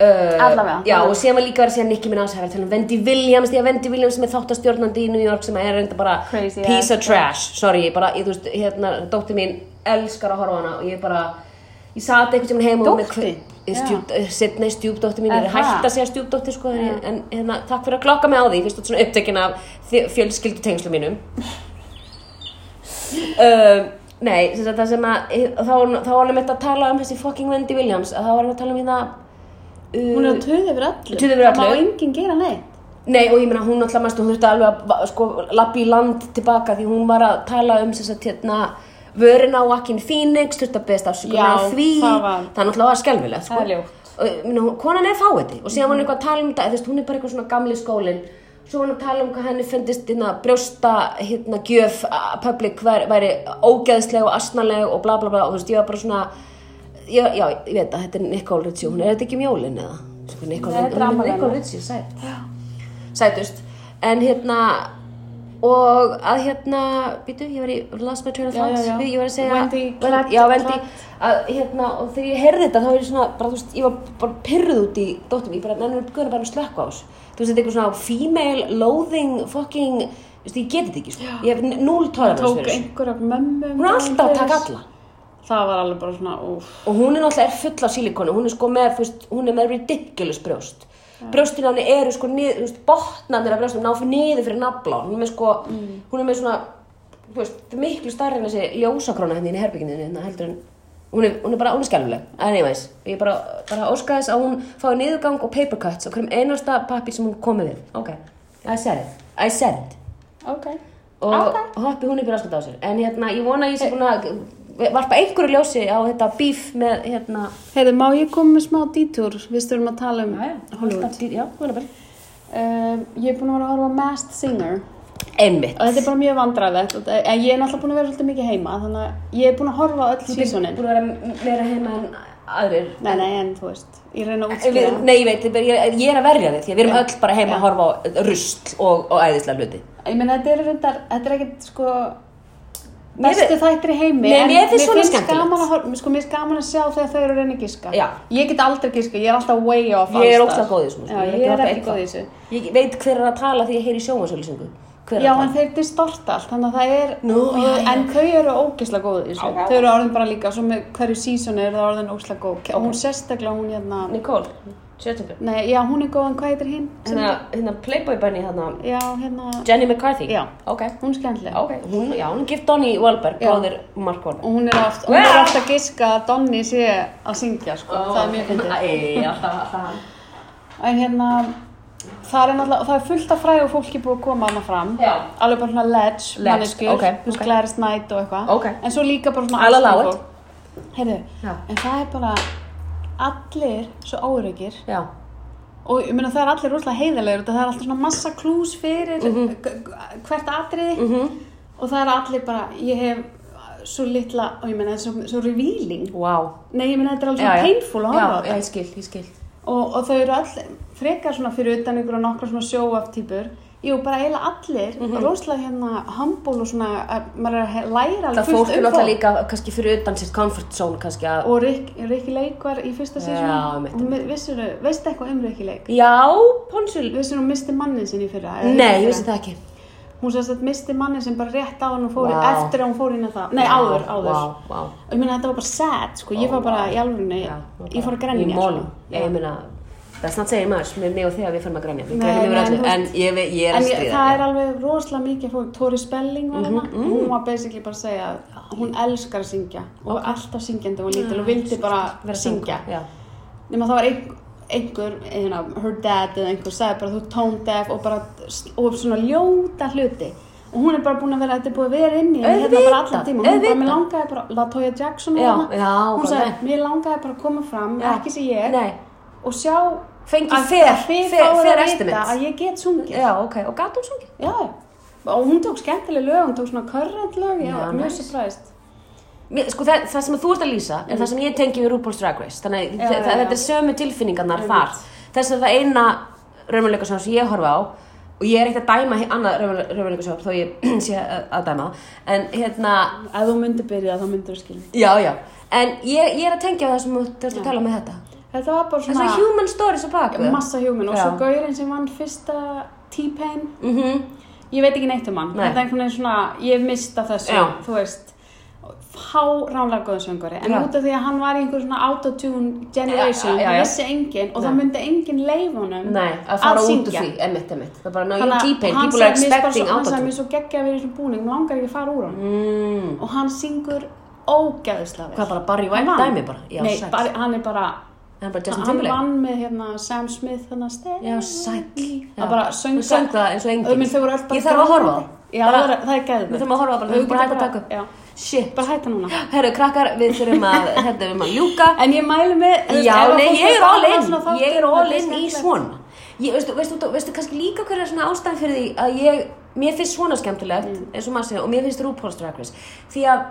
Uh, Allavega. Já, og síðan var líka verið að segja Nicky Minaj hefur talað um Wendy Williams, því að Wendy Williams sem er þáttastjórnandi í New York sem er reynda bara Crazy ass, piece of trash, sorry, ég bara, ég, þú veist, hérna, dóttir mín elskar að horfa á hana og ég bara, ég sat einhvern tímann heim og Dóttir? eh, Stjúp, setna í stjúpdóttir mín, ég Er er hægt það? að segja stjúpdóttir sko, en, en hérna, takk fyrir að klokka mig á því, fyrst þú ert svona upptekin af fjölskyldu tengslum mínum um, Nei, sem sagt það sem að þá var- þá var hann mitt að tala um þessi fucking Wendy Williams að þá var hann að tala um hérna uh, Hún er að töði yfir öllu. Tuða yfir öllu. Það má enginn gera neitt. Nei, og ég meina hún alltaf mest, hún þurfti alveg að va- sko, lappa í land tilbaka því hún var að tala um sem sagt hérna vörina á Akin Phoenix, þurfti að beðast afsökunar Já, á því, það var- það náttúrulega var skelfilegt sko. Það er ljótt. Og, ég meina, hún- konan er fáiði og síðan var hann eitthvað að tala um þetta, þú veist, hún er bara eitthvað svona gamli skólinn, svo var hann að tala um hvað henni fundist hérna brjósta hérna gjöf að public væri, væri ógeðsleg og asnaleg og bla bla bla og þú veist, ég var bara svona, ég, já, ég veit að þetta er Nicole Ritchie, hún er þetta ekki mjólin eða? Sko, Nicole, Nei, þetta er hún amma Nicole hennar. Ritchie, sætt sætust en hérna og að hérna, býtu, ég var í lost my train of Já, thought, já, já. Við- ég var að segja Wendy, Wen- Clark, já, Wendy, Clark. að hérna, og þegar ég heyrði þetta þá var ég svona, bara, þú veist, ég var bara pyrruð út í dóttum, ég bara, nennur, guðna bara að slökka á þessu þú veist, þetta er eitthvað svona female loathing fucking, þú veist, ég geti þetta ekki sko. ég hef n- núll tolerance Tók fyrir þessu. einhver af mömmum. hún er alltaf að taka alla Það var alveg bara svona, úf. og hún er náttúrulega er full af sílikonu hún er sko með, þú veist, hún er með ridiculous brjóst brjóstin hann eru sko niður, þú veist, botnarnir af brjóstum ná fyrir niður fyrir nafla hún er með sko, hún er með svona þú veist, þetta er miklu starri en þessi ljósakróna henni í herbygginu hérna heldur en hún er, hún er bara, hún er skelfileg, anyways ég bara, bara óska þess að hún fái niðurgang og paper cuts og hverjum einasta pappir sem hún komið við, ok, I said it I said it Ok. og hoppi hún upp í raskat á sér en hérna, ég vona að ég sé búin að varpa einhverju ljósi á þetta bíf með hérna Heyrðu, má ég koma með smá dítúr? Við stöðum að tala um Hollywood. Hollywood já, hún er bara Uh, ég er búin að vera að horfa á Masked Singer einmitt og þetta er bara mjög vandræðilegt. og- eh, En ég er náttúrulega búin að vera svolítið mikið heima, þannig að ég er búin að horfa á öll sísonin. búin að vera meira heima en aðrir Nei, nei, en þú veist, ég reyna að Við, útskýra. nei, ég veit, ég, ég er að verja þig því að við erum Já. öll bara heima að horfa á rusl og, og æðislega hluti Ég meina, þetta er reyndar, þetta er ekkert sko Mér bestu finnst- þættir í heimi. Nei, en mér finnst svona finnst skemmtilegt. gaman að horfa, sko, mér finnst gaman að sjá þegar þau eru að reyna að giska. Já. Ég get aldrei giska, ég er alltaf way off ég er alls ókslega staðar. góð í þessu sko. Já, ég, get er varla ekki góð eitthvað. í þessu. ég veit hver er að tala því ég heyri sjómasölusingu hver er Já, að en tala þeir distorta allt, þannig að það er, Nú, og, já, já. en þau eru ógislega góð í þessu. Já, já. Þau eru orðin bara líka, svo með hverju sísoni eru það orðin ógislega góð. Og hún sérstaklega, hún hérna, Nicole, sjöttingur nei, já, hún er góð, en hvað heitir hinn? Sem- hérna, hérna Playboy Bunny hérna, Já, hérna, Jenny McCarthy Já. ok hún er skemmtileg. Ok, hún, já, hún er gift Donny Wahlberg, Já. bróðir Mark Wahlberg. Og hún er oft, hún er Wow. oft að giska að Donni sé að syngja, sko, það er mjög fyndið. Æ, já, það var það. En hérna, það er náttúrulega, það er fullt af fræðu fólki búið að koma hana fram. Já. Alveg bara svona ledge, Ledge, manneskjur, ok, þú veist, ok. Gladys Knight og eitthvað. Ok. En svo líka bara svona I'll alls konar allow it. fólk. Heyrðu, Já. en það er bara, allir svo óryggir Já, og ég meina það er allir rúslega heiðarlegur og það er alltaf svona massa klús fyrir Mhm. g- g- hvert atriði og það er allir bara, ég hef svo litla, og ég meina það er svo, svo revealing wow nei, ég meina þetta er alveg svona painful að Já, horfa á já, þetta ég skil, ég skil og, og þau eru all frekar svona fyrir utan ykkur og nokkra svona show-off típur Jú, bara eiginlega allir, mm Mhm. rosalega hérna humble og svona, að, maður er að he- læra alveg Það fólk er upp á. náttúrulega líka kannski fyrir utan sitt comfort zone kannski að Og Rick- Rikki Leik var í fyrsta Já, sísón einmitt. og mi- vissirðu, veistu eitthvað um Rikki Leik? Já, ponsul Vissirðu hún misti mannin sinn í fyrra? eða Nei, ég fyrra? vissi það ekki Hún sérst að misti mannin sinn bara rétt á hann og fór Vá. eftir að hún fór inn að það. Nei, áður, áður. Vá, vá Og ég meina þetta var bara sad, sko, ég Ó, var bara vá. í alvörunni, Já, bara ég fór að í grenja, sko. mólum, já, ég Já. meina það er snart segir maður með mig og þig að við fyrir að grænja við Nei, grænjum yfir nei, öllu, þú veist- en ég, ve- ég er En að ég, stríða það já. er Mhm, alveg rosalega mikið fólk, Tori Spelling var hérna, hún var basically bara að segja að hún elskar að syngja og var alltaf syngjandi og lítil og vildi bara Vera syngja. já. nema það var ein, einhver, hérna, her dad eða einhver sagði bara þú ert tone deaf og bara og svona ljóta hluti og hún er bara búin að vera, þetta er búin að vera inn í henni hérna bara Auðvitað, allan tíma, hún bara, auðvitað. mér langaði bara Latoya Jackson Já, hérna. já, hún bara sagði, nei. mér langaði bara að koma fram Já. ekki sem ég Nei. og sjá Fengi að- fair- að þið fair- fáið fair að vita estimates." að ég get sungið já, ok, og gat hún sungið já, og hún tók skemmtileg lög hún tók svona current lög, já, Já, mjög nice. surprised Mér, sko, það, það sem þú ert að lýsa er það sem ég tengi við RuPaul's Drag Race þannig að Mm. Já, þa- já, þa- já. þetta er sömu tilfinningarnar Einmitt. þar þess að það eina raunveruleika sjóð sem ég horfa á og ég er ekkert að dæma he- annað raunveruleika sjóð þó ég sé að, að dæma það en hérna, ef þú myndir byrja þá myndir þú skilja já, já en ég, ég er að tengja það sem þú ert að tala um með þetta þetta var bara það er svona svona human stories á baku það. massa human og Já. svo gaurinn sem vann fyrsta T-Pain Mhm. ég veit ekki neitt um hann Nei. þetta er einhvern veginn svona, ég hef mistað þessu Já. þú veist há ránlega góðan söngari en Já. út af því að hann var í einhver svona autotune generation, Já, já, já, það já. vissi enginn og það Nei. myndi enginn leif honum Nei, að fara út úr syngja. því, emitt, emitt. Það er bara, no, Þannig you að keep pain, hann people are sagði mér bara svo- expecting hann sagði autotune. mér svo geggja að vera í þessum búning, mér langar ekki að fara úr hann Mm, og hann syngur ógæðislega vel Hvað, bara Barry White Hann vann. dæmi bara? Já, Nei, sæll. bara, hann er bara það er bara Justin hann Timberlake. vann með hérna, Sam Smith þannig að steg Já, sæll. það bara söng Þú söng það eins og enginn. Minn, þau voru öll bara Ég þarf að horfa á það. grátandi. já, Bara- það er, það er gæðið Við þurfum að horfa bara, við erum bara hægt að taka já, upp. Shit. bara hætta núna Herru, krakkar, við þurfum að, þetta við erum að ljúka. en ég mælu með þú veist, Já, ef að nei, fólk um ég er saman all in, svona þáttum, ég er þetta all in í skemmtilegt. svona. Ég, veistu, veistu, veistu, veistu kannski líka hverja svona ástæðan fyrir því að ég, mér finnst svona skemmtilegt, Mm. eins og maður segja, og mér finnst RuPaul's Drag Race. Því að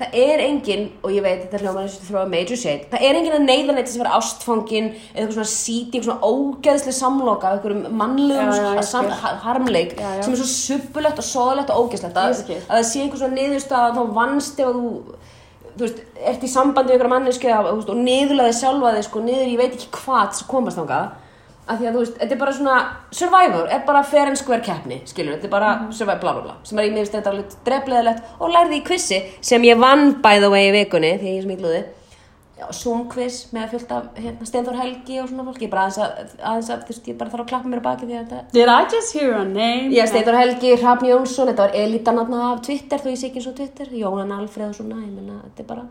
það er engin, og ég veit, þetta er hljóma eins og þrjóða major shade, það er engin að neyða neitt til að vera ástfangin, eða eitthvað svona síti, eitthvað svona ógeðslega samloka, eitthvað mannlegum Já, já, ég sam, skil. ha- harmleik, Já, já. sem er svo suppulegt og soðalegt og ógeðslegt, Ég að, skil. að það sé einhver svona niðurstaða, þá vannst ef að þú, þú veist, ert í sambandi við ykkur mannesku eða, þú veist, og niðurlaði sjálfa þig sko, niður ég veit ekki hvað til þess að komast þangað af því að þú veist, þetta er bara svona Survivor er bara fair and square keppni skilur, þetta er bara Mhm. Survivor bla bla bla sem er í mér finnst þetta alveg drefleðilegt og lærði í quizzi sem ég vann by the way í vikunni því að ég smíkluði Já, Zoom quiz með fullt af hérna, Steinþór Helgi og svona fólki, ég bara aðeins að, aðeins að þú veist, ég bara þarf að klappa mér á baki því að þetta did I just hear a name Já, Steindur Helgi, Hrafn Jónsson, þetta var elitan aðna af Twitter, þó ég sé ekki eins og Twitter, Jónan Alfreð og svona, ég menna, þetta er bara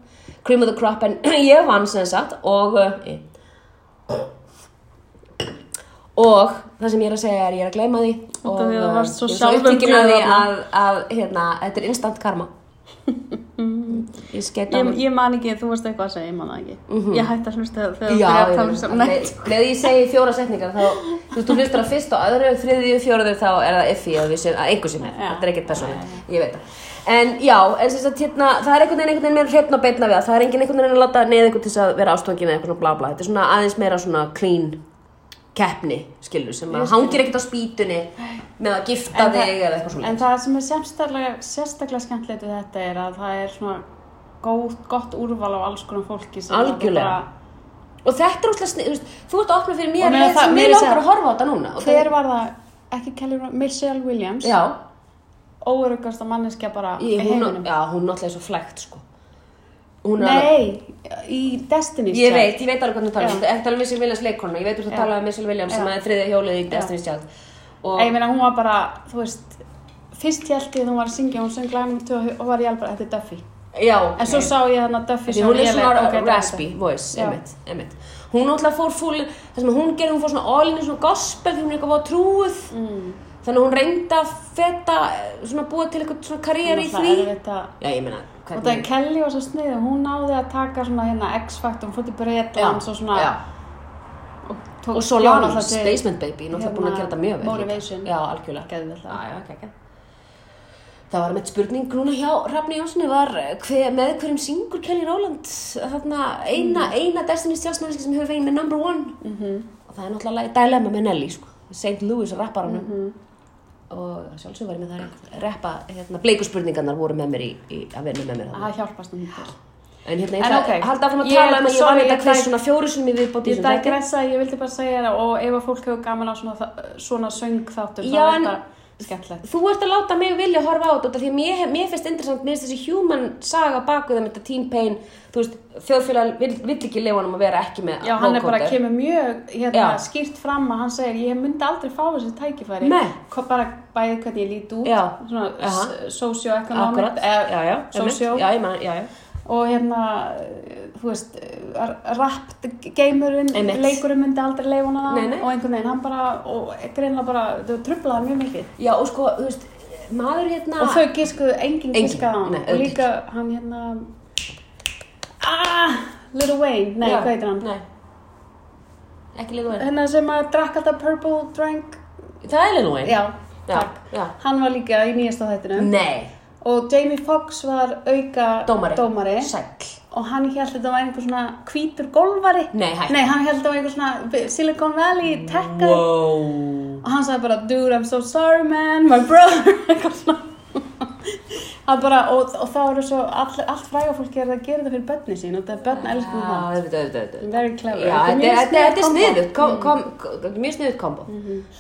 cream of the crop, en ég vann sem sagt og uh, og það sem ég er að segja er ég er að gleyma því Út og af því að þú uh, varst svo ég er sjálfum upptekin af því glöð þarna. að, að hérna, þetta er instant karma ég skeit ég, að ég man ekki, þú veist eitthvað að segja, ég man það ekki ég hætti að hlusta þegar þegar þú Mhm. Já, ég byrjar að tala um veit. sem með, með ég segi fjóra setningar þá, þú veist, þú hlustar að fyrst og öðru, þriðju, fjóruðu, þá er það effi að, við sem, að einhver sem er, Já. þetta er ekkert persónlegt, ég veit það. En já, en sem sagt, hérna, það er einhvern veginn einhvern veginn meira hreppn og beitna við það, það er enginn einhvern veginn að láta neða einhvern til þess að vera ástókin eða eitthvað svona bla bla, þetta er svona aðeins meira svona clean keppni, skilur, sem að hangir ekkert á spýtunni með að gifta En það- þig eða eitthvað svona. En það sem er sérstaklega, sérstaklega skemmtilegt við þetta er að það er svona góð, gott úrval á alls konar fólki sem Algjörlega. að Og þetta er útla snið, þú veist, þú ert að opna fyrir Og mér, meina leið það- sem meira mér að segja- langar að horfa á þetta núna. bara, og hver það- var það, ekki Kelly Ro- Michelle Williams, Já, óöryggasta manneskja bara í ég, hún, heiminum. já, hún náttúrulega er svo flægt, sko. Hún er alveg- Nei, í Destiny's Ég Child. veit, ég veit alveg hvernig þú tala um Já. þetta. Ekki tala um Missile Williams leikonuna, ég veit hvort þú Já. tala um Missile Williams sem Já. er þriðja hjólið í Já. Destiny's Child. Ég Og meina hún var bara, þú veist, fyrst held ég að hún var að syngja, hún söng lagum og var ég alveg bara, þetta er Duffy. já, En svo sá ég þarna Duffy því hún og er ég leit, svona ok, þetta er raspy þetta. voice, Já. emitt, emitt. Hún náttúrulega fór full, það sem hún gerði, hún fór svona all-in í svona gospel því hún er eitthvað að trúið. Mm. Þannig að hún reyndi að feta, eh, svona búa til eitthvað svona karriér í Náttúrulega því. erfitt að- Já, ég meina, Og það er Kelly var svo snið og hún náði að taka svona hérna X-Factor, hún fótt í Breitlands og svona já. og, tók og svo bjó Lana, náttúrulega til- Basement Baby, náttúrulega búin að gera þetta mjög vel líka. Motivation. Já, algjörlega Geðveikt lag. Já, já, geggjað. Það var meitt spurning núna hjá Rafni Jónssoni var eh, hver, með hverjum syngur Kelly Rowland þarna eina, Mhm. eina Destiny's Tjástmanniski sem hefur fengið með number one -hmm. og það er náttúrulega lagið Dilemma með Nelly sko, St. Louis rapparanum Mhm. og sjálfsög var ég með það að reppa, hérna, bleikuspurningarnar voru með mér í, í að vinna með mér þarna. Það hjálpast um þetta. En hérna, ég En ætla ókei. að halda áfram að Ég- tala um að ég sorry, var ég þetta hver dæg- svona fjóru sem ég viðbótt í Ég þessum þætti. digressa, ég vildi bara segja það og ef að fólk hefur gaman á svona, þa- svona söngþáttum Já, þá er en- þetta skemmtilegt. Þú ert að láta mig vilja horfa á þetta út af því að mér, mér finnst interessant, mér finnst þessi human saga baku þeim, þetta teen pain, þú veist, þjóðfélag vill, vill ekki leifa hann að vera ekki með Já, hann er bara nóg að kódið. kemur mjög hérna, Já. skýrt fram að hann segir ég myndi aldrei fá þessi tækifæri Nei. Ko- bara bæði hvernig ég lít út Já. svona Aha. s- eh, socio-economic Akkurat, já, já, socio einmitt. já, ég man, já, já. og hérna eh, þú veist, rap-geimurinn Einmitt. leikurinn myndi aldrei leifa hann að Nei, nei. það og einhvern veginn hann bara og greinlega bara, þau trublaði mjög mikið Já, og sko, þú veist, maður hérna, og þau gískuðu, enginn Enginn, gískaði á hann nei, og auðvitað líka hann hérna ah, Little Wayne, nei, Já, hvað heitir hann? Nei, ekki leifa hann. hérna sem að drakk alltaf purple drank Það er leifa hann. já, Já, takk já. hann var líka í nýjasta þættinum Nei, og Jamie Foxx var auka dómari. Sæll. og hann held þetta var einhver svona hvítur golvari Nei, hæ. hann held þetta var einhver svona Silicon Valley tech guy Wow. og hann sagði bara dude I'm so sorry man, my brother eitthvað svona Hann bara, og, og þá eru svo all, allt fræga fólki er að gera þetta fyrir börni sín og þetta er börn elskum Já, það auðvitað, auðvitað, auðvitað. very clever Já, Þetta er þetta mjög er- þetta er- þetta er kombo. Mm. Mhm. sniðugt, kom- kom- kom- mjög sniðugt kombo.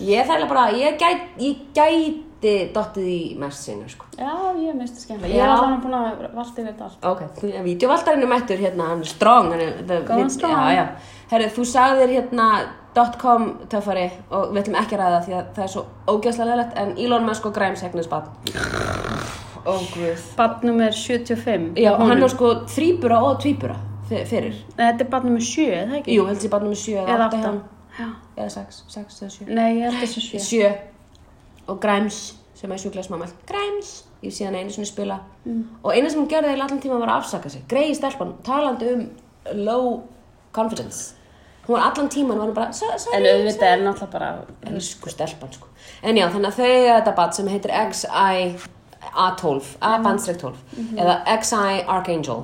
Ég þærlega bara, ég, gæt, ég gæti dottið í mest sinna, sko. já, ég misti skemmtilega ég Já. er allan búin að valda yfir þetta allt Ok, en vídeovaldarinn er mættur hérna, hann er strong, hann er... the- Góðan við- strong. Já, já. Herru, þú sagðir hérna .com töffari og við ætlum ekki að ræða það því að það er svo ógeðslega leðilegt en Elon Musk og Grimes hegnuðs bann. Ó, guð. Bann nummer 75 Já, Honum. hann er sko þrýbura og tvýbura fyr- fyrir. Nei, Þetta er bann nummer 7, er það ekki? Jú, heldur ég bann nummer 7 Eða eða 8 8 hann. Já. Eða 6, 6 eða 7. Nei, ég held þessu 7 sjö og Grimes sem er sjúklega smámælt Grimes, ég sé hann einu svona spila Mm. og eina sem hún gerði í allan tíma var að afsaka sig greiði stelpan, talandi um low confidence hún var allan tíman, var hún bara "So- sorry, En auðvitað er náttúrulega bara elsku stelpan sko. en já, þannig að þau eiga þetta bat sem heitir XI A12, Mhm. A-bandstrek 12 eða XI Archangel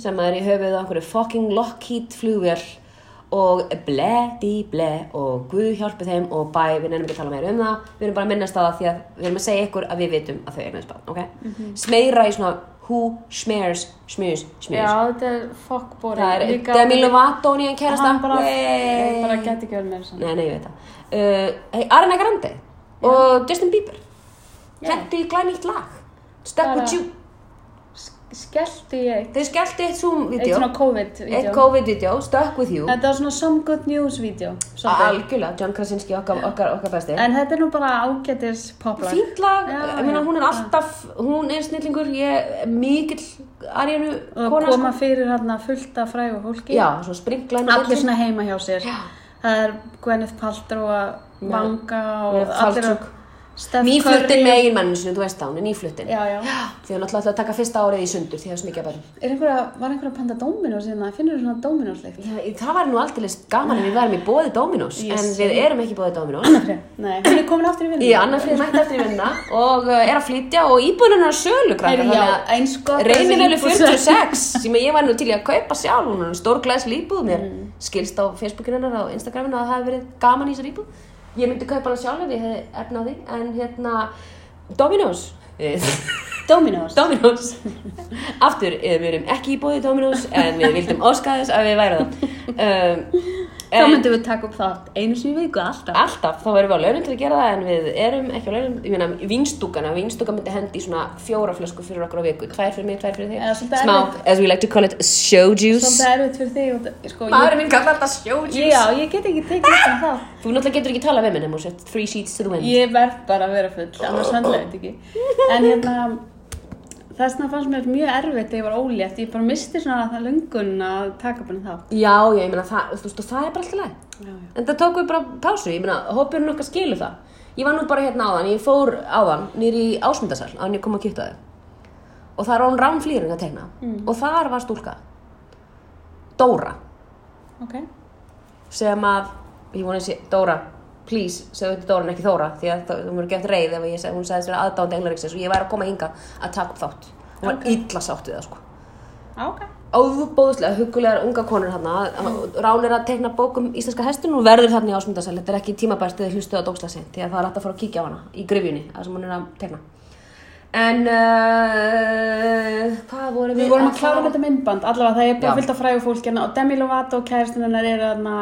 sem er í höfuð á einhverju fucking Lockheed flugvél og ble, di, ble og Guð hjálpi þeim og bæ, við nefnum ekki að tala meira um það við erum bara að minnast að það því að við erum að segja ykkur að við vitum að þau eignast barn, ok? Mhm. Smeira í svona who smears, smears, Já, smears þetta er fokkbóri það er Demi Lovato nýjan kærasta Hann bara, Yay. bara geti ekki verið meira sann Nei, nei, ég veit það. Uh, hey, Arna Grande og Justin Bieber. Hentu í glænýtt lag. Stuck Bara- with you. Skellti ég eitt Þau skellti eitt Zoom-vídeó. Eitt svona Eitt COVID-vídeó COVID-vídeó, Stuck with you. Þetta var svona some good news-vídeó svolítið. Algjörlega, John Krasinski okkar, okkar, okkar besti. En þetta er nú bara ágætis poplag Fínt lag, Já, ég meina já, hún er alltaf, hún er snillingur, ég er mikill arjánu Og kona koma sko. fyrir hérna fullt af frægu fólki Já, svo springla henni allir allir. svona heima hjá sér það er Gwyneth Paltrow að vanga og með allir að Falchuk. Steph Nýfluttin með eiginmanninu sinu, þú veist það, hún er nýfluttin. já, já. Því hún ætlaði alltaf að taka fyrsta árið í sundur því það er svo mikið að bærum. Er einhverja, var einhverja að panta Dominos hérna finnur þú svona Dominos leikt Já, það var nú aldrei gaman að við værum í bóði Dominos, Ég en sé. við erum ekki í bóði Dominos. nei, hún er komin aftur í vinnu Ég annar fyrir mætt eftir í vinna og uh, er að flytja og íbúðunar er sölu krakkar. Heyrðu, já, eins gott að þessi Reinin eru íbúð- 46 sem ég var nú til í að kaupa sjálf, hún er stór glæsli íbúð mér. Mm. Skilst á Facebookinu hennar og Instagraminu að það hefði verið gaman í þessar íbúð. Ég myndi kaupa hana sjálf ef ég hefði efnaði, en hérna, Dominos. eh, Dominos Dominos Aftur, eh, við erum ekki í bóði Dominos en við vildum óska þess að við værum það um, þá en, myndum við taka upp það einu sinni í viku alltaf Alltaf, þá erum við á launum til að gera það en við erum ekki á launum, ég meina vínstúkana vínstúka myndi hendi í svona fjóra flösku fyrir okkur á viku, tvær fyrir mig, tvær fyrir Eða þig svolítið smá, erfitt. as we like to call it, show juice svolítið erfitt fyrir þig og það- sko, Maðurinn minn kallar þetta show ég, já, ég get ekki tekið um þetta þá Þú náttúrulega getur ekki talað við minn um og sett three sheets to the wind Ég verð bara að vera full, annars höndla ég þetta ekki. En hérna, þessna fannst mér mjög erfitt þegar ég var ólétt. Ég bara misti svona það lungun að taka bara þá. Já, já, ég meina það, þú veist, og það er bara alltaf leið Já, já. En það tók við bara pásu, ég meina, hópurinn okkar skilur það. Ég var nú bara hérna áðan, ég fór áðan, nýri í Ásmundasal, að hann ég kom að kýtta þig. og það er án ránflýring að teikna Mm. og þar var stúlka Dóra ok, sem að, ég vona að sé, Dóra please, segðu þetta Dóra en ekki Þóra því að það- hún verður gett reið ef ég, seg- hún sagðist vera aðdáðandi englaríksins og ég væri að koma hinga að taka upp þátt hún var illa sátt við það sko ok óbóðslega hugulegar unga konur hann ránir að tekna bók um íslenska hestin og verður þarna í ásmundasæl þetta er ekki tímabært eða hlustuð á dókslasinn því að það er alltaf að fara að kíkja á hana í grifjunni það sem hún er að tekna en uh, hvað vorum við um? Við vorum að klára þetta myndband, allavega það er Já. bara fyllt af frægu fólki hérna og Demi Lovato og kæristinn hennar eru þarna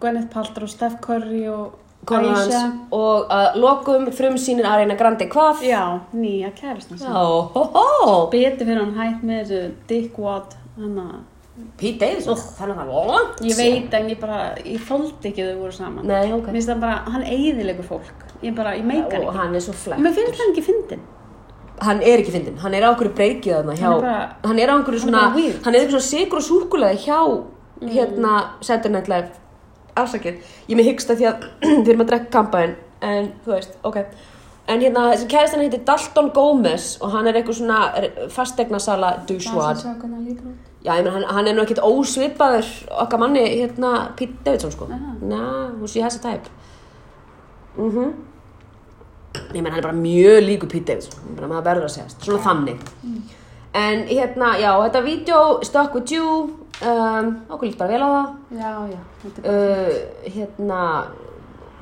Gwyneth Paltrow, Steph Curry og konur Aisha. hans og að lokum frumsýnir Arena Grandi hvað Já, nýja kæristinn Já, sem. hó, hó. Betur fyrir hann hætt með þessu Dick Watt, þannig að Pete Davidson, þannig að það var langt ég síðan. veit en ég bara, ég þóldi ekki að þau voru saman. Nei, ok. Mér finnst það bara, hann eigðilegu fólk, ég bara, ég meika hann og ekki. hann er svo flekk Mér finnst það ekki fyndin. hann er ekki fyndin, hann er á okkur breykið þarna hjá, Hann er bara- hann er á okkur hann er svona bara weird. Mm. hann er eitthvað svona sigur og súrkulaði hjá hérna Saturday Night Live afsakið, ég er með hyggsta því að við erum að drekka kampaðin, en þú veist ok, en hérna þessi kæðistan heitir Dalton Gómez og hann er eitthvað svona fastegnasala douchewad svo hvernig hann lítur út. Já, ég meina, hann, hann er nú ekkert ósvipaður okkar manni, hérna, Pete Davidson, sko. Na, hún sé þessi tæp. Mhm. Ég meina, hann er bara mjög líku Pete Davidson. Ég meina, maður verður að segja, svona þannig. En, hérna, já, þetta vídeo, Stuck with You, um, okkur lítið bara vel á það. Já, já, þetta er bara. Uh, hérna, bíddu,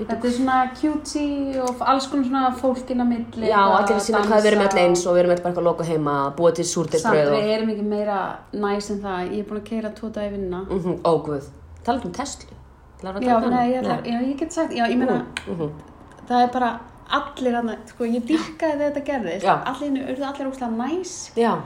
Þetta er svona cutie og alls konar svona fólk inn á milli. já, bara allir að sína hvað dansa við erum og- öll eins og við erum öll bara eitthvað að loka heima, búa til Samt súrdeinsbröð og... við erum ekki meira næs en það, ég er búin að keira tvo dag í vinna. Mhm, Ó, guð. Talandi um Tesla. Ætlarðu að Já, tala um nei, hana? ég, ætlar, já, ég get sagt, já, ég meina, Mhm. það er bara allir hann, sko, ég dýrkaði þegar þetta gerðist, Já. allir henni urðu allir óslega næs. Já,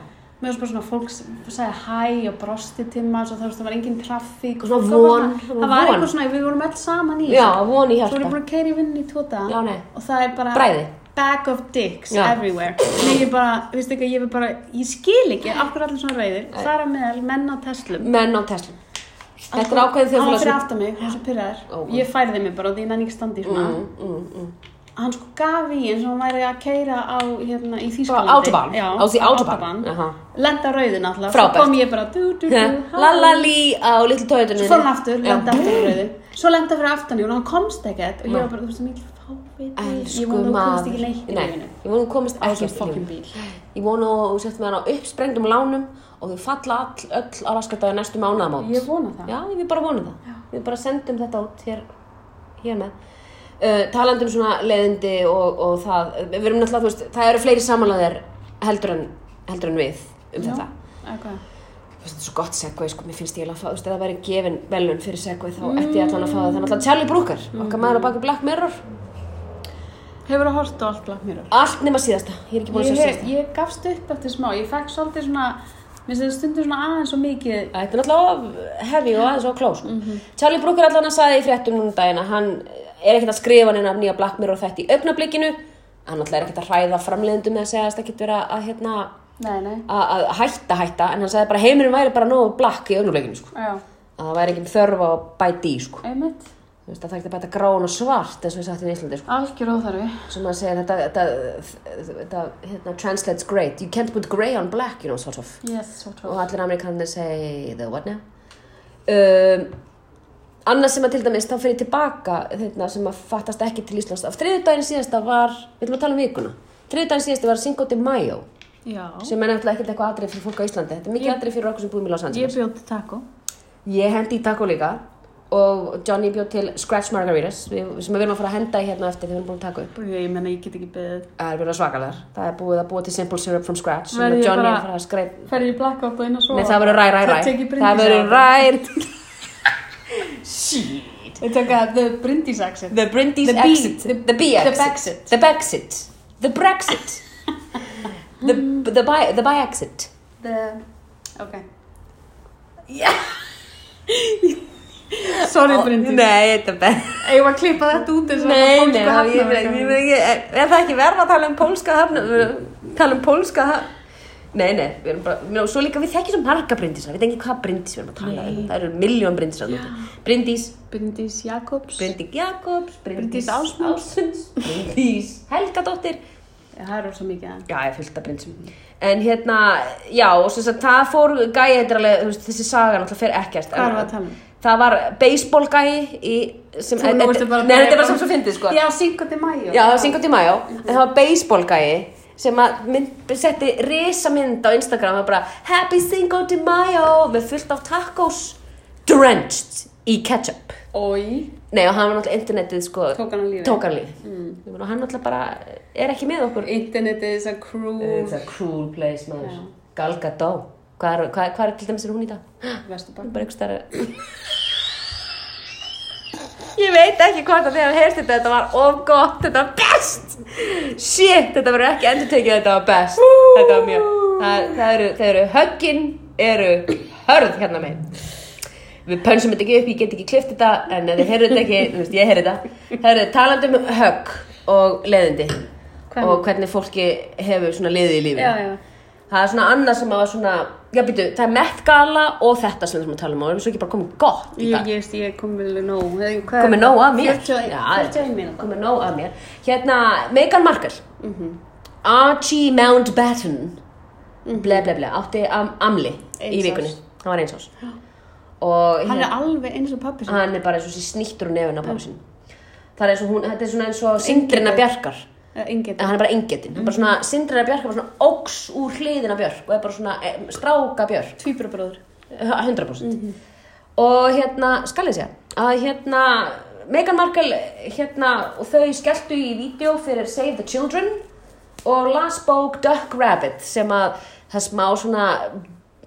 Mér varst bara svona fólk sem sagði hæ og brosti til maður, svo það, það var engin traffík. og Svona fólk var von, bara- svona Það var von. eitthvað svona, við vorum öll saman í. já, von í þessu. Svo er ég hjarta. búin að keira í vinna í tvo dag Já, nei. og það er bara... Bræði. Bag of dicks Já. everywhere. Nei, ég bara, veistu ekki, ég er bara, ég skil ekki af hverju allir svona reyðir. Það er að meðal menn á Teslum. Menn á Tesla. Þetta er ákveðið Hann var þjóðfélags... fyrir aftan mig, hann var svo pyrraður. Ó, guð. Ég færði mig bara og því hann ekki standi í svona. Mm, mm, mm. Hann sko gaf í eins og hann væri að keira á, hérna, í Bara Þýskalandi. Autobahn. Já, Á því Autobahn. Autobahn. Jaha. Lenda rauðin alltaf. Frábært. Svo kom ég bara, du, du, du, hæ. Lalali á litlu tóðutunni. Svo fór hann aftur, Já. lenda aftur á rauðu. Svo lenda fyrir aftan í hún og hann komst ekkert. Og ég var bara, þú veist, það mikil fáviti. Ég Elsku vona þú komst maður. ekki neitt í Nei, lífinu. ég vona þú komist Á ekkert þessum í lífinu. fucking bíl. Ég vona þú sett með hann á uppsprengdum lánum og þau falla all, öll alaskataði næstu mánaðamót. Ég vona það. Já, við bara vonum það. Við bara sendum þetta út hér, hér með. Uh, talandi um svona leiðindi og, og það, við erum náttúrulega, þú veist, það eru fleiri samanlæðir heldur en, heldur en við um þetta. Eitthvað. Þú veist, Þetta er svo gott segvei, sko, mér finnst ég alveg að fá, þú veist, ef það væri gefin velun fyrir segvei, þá ætti ég allan að fá það. Það er Mm. náttúrulega Charlie Brooker, okkar maður á baki Black Mirror, Hefurðu horft á allt Black Mirror? allt nema síðasta, ég er ekki búin að Ég, sjá hef, síðasta. ég gafst upp eftir smá, ég fekk svolítið svona, minnst þetta stundur svona aðeins og mikið Þetta er náttúrulega heavy og aðeins og kló, sko. Mhm. Charlie Brooker allan að sagði í fréttum núna um daginn að hann er ekkert að skrifa neina af nýja Black Mirror þetta í augnablikinu, hann náttúrulega er ekkert að hræða framleiðendum með að segja að það getur verið að, hérna, Nei, nei að, að hætta, hætta, en hann sagði bara heimurinn væri bara nógu black í augnablikinu, sko. Já, Að það væri ekki þörf á að bæta í, sko. einmitt, Þú veist, að það er ekki að bæta grán og svart, eins og við sagt í Íslandi, sko. algjör óþarfi Sem að segja þetta, þetta, þetta, hérna, translates great. You can't put grey on black, you know, sort of Yes, so true og allir amerikanir segi the what now um, annað sem að til dæmis þá fer ég tilbaka þeirna, sem að fattast ekki til Íslands af þriðudaginn síðasta var, við ætlum að tala um vikuna þriðudaginn síðasta var Cinco de Mayo Já, sem er náttúrulega ekkert eitthvað atrið fyrir fólk á Íslandi þetta er mikið atrið fyrir okkur sem búum í Los ég Angeles bjóti taco ég hendi í taco líka og Johnny bjóð til Scratch Margaritas við- sem við erum að fara að henda í hérna á eftir þegar við erum búin að taka upp Bara, Ég menna, ég get ekki beðið það er búin svakalegar, það er búið að búa til Simple Syrup from Scratch sem Verð að ég Johnny bara- er að fara að skreita Ferði í blackout og inn að sofa Nei, það verður ræ, ræ, ræ. Tek ég Það verður ræ rær. Ég tek að the brindis accent The Brindis The exit. beat. The B The exit. The Brexit. The Brexit. The, the, by, the by exit. The, ok Yeah. Oh, Sorry brindis Nei, þetta er best. Ég var að klippa þetta út eins og Nei, þetta nei, fólk að ég hafna veit ekki, ég veit ekki, er er það ekki verð að tala um pólska hafna, tala um pólska hafna? Nei, nei, við erum bara, mjó, svo líka við þekkjum svo marga brindisar, við veit ekki hvað brindis við erum að tala um, Nei. það eru miljón brindisar núti. Brindís, Brindis Jakobs Bryndís Jakobs, Bryndís Bryndís Ásmunds. Ásmunds, Bryndís Helgadóttir, Það er rosa mikið aðeins Já, ég fylgta prinsum. En hérna, já, og sem sagt, það fór gæi, þetta er alveg, þú veist, þessi saga náttúrulega fer ekkert. Hvað en- erum við að tala um? Það var baseball gæi í, sem, Þú- nú ertu bara nei, þetta er bara sem svo fyndið, sko. Já, Cinco de Mayo Já, það var Cinco de Mayo, en það var baseball gæi sem að mynd, setti risa mynd á Instagram og bara Happy Cinco de Mayo með fullt af tacos drenched í ketchup. Oi. Nei, og hann var náttúrulega internetið sko Tók hann af lífi. Tók hann líf mm. Og hann náttúrulega bara er ekki með okkur Internetið þess að It's crew a cruel place, maður Já. Gal Gadot Hvað er, hvað, hvað er til dæmis er hún í dag? Hún Vesturbakk er bara einhvers stærra Ég veit ekki hvort að þegar hann heyrst þetta Þetta var of gott, þetta var best Shit, þetta verður ekki endur tekið Þetta var best Þetta var mjög Það, það eru, það eru höggin eru hörð hérna með Við pönsum þetta ekki upp, ég get ekki klift þetta En ef þið heyrðu þetta ekki, þú veist, ég heyrðu þetta Það eru talandi um högg og leiðindi Hvernig? Og hvernig fólki hefur svona leiði í lífi Já, já Það er svona annað sem að var svona, já býtu, það er mettgala og þetta sem við erum að tala um og erum svo ekki bara komið gott í Ég, dag. ég veist, ég kom vel nóg Eða, hvað er Komið það? nóg að mér. 41 Já, 41 mínúta Komið nóg að mér. Hérna, Meghan Markle, Mhm. Archie Mountbatten, ble ble ble, átti am amli í Mhm. Eins vikunni. árs. Hann var einsás. Og Hann hérna, er alveg eins og pappi sem hann er bara eins og sér snýttur úr nefn á pappa sín. Það er eins og hún, þetta er svona eins og sindrina bjarkar. Engin En hann er bara engetinn. Hann er bara svona, sindrina bjarkar er bara svona óks úr hliðina björk og er bara svona eh, stráka björk. Tvíbrabróður 100% og hérna, skal ég segja að hérna, Meghan Markle hérna, og þau skelltu í vídeo fyrir Save the Children og las bók Duck Rabbit sem að það smá svona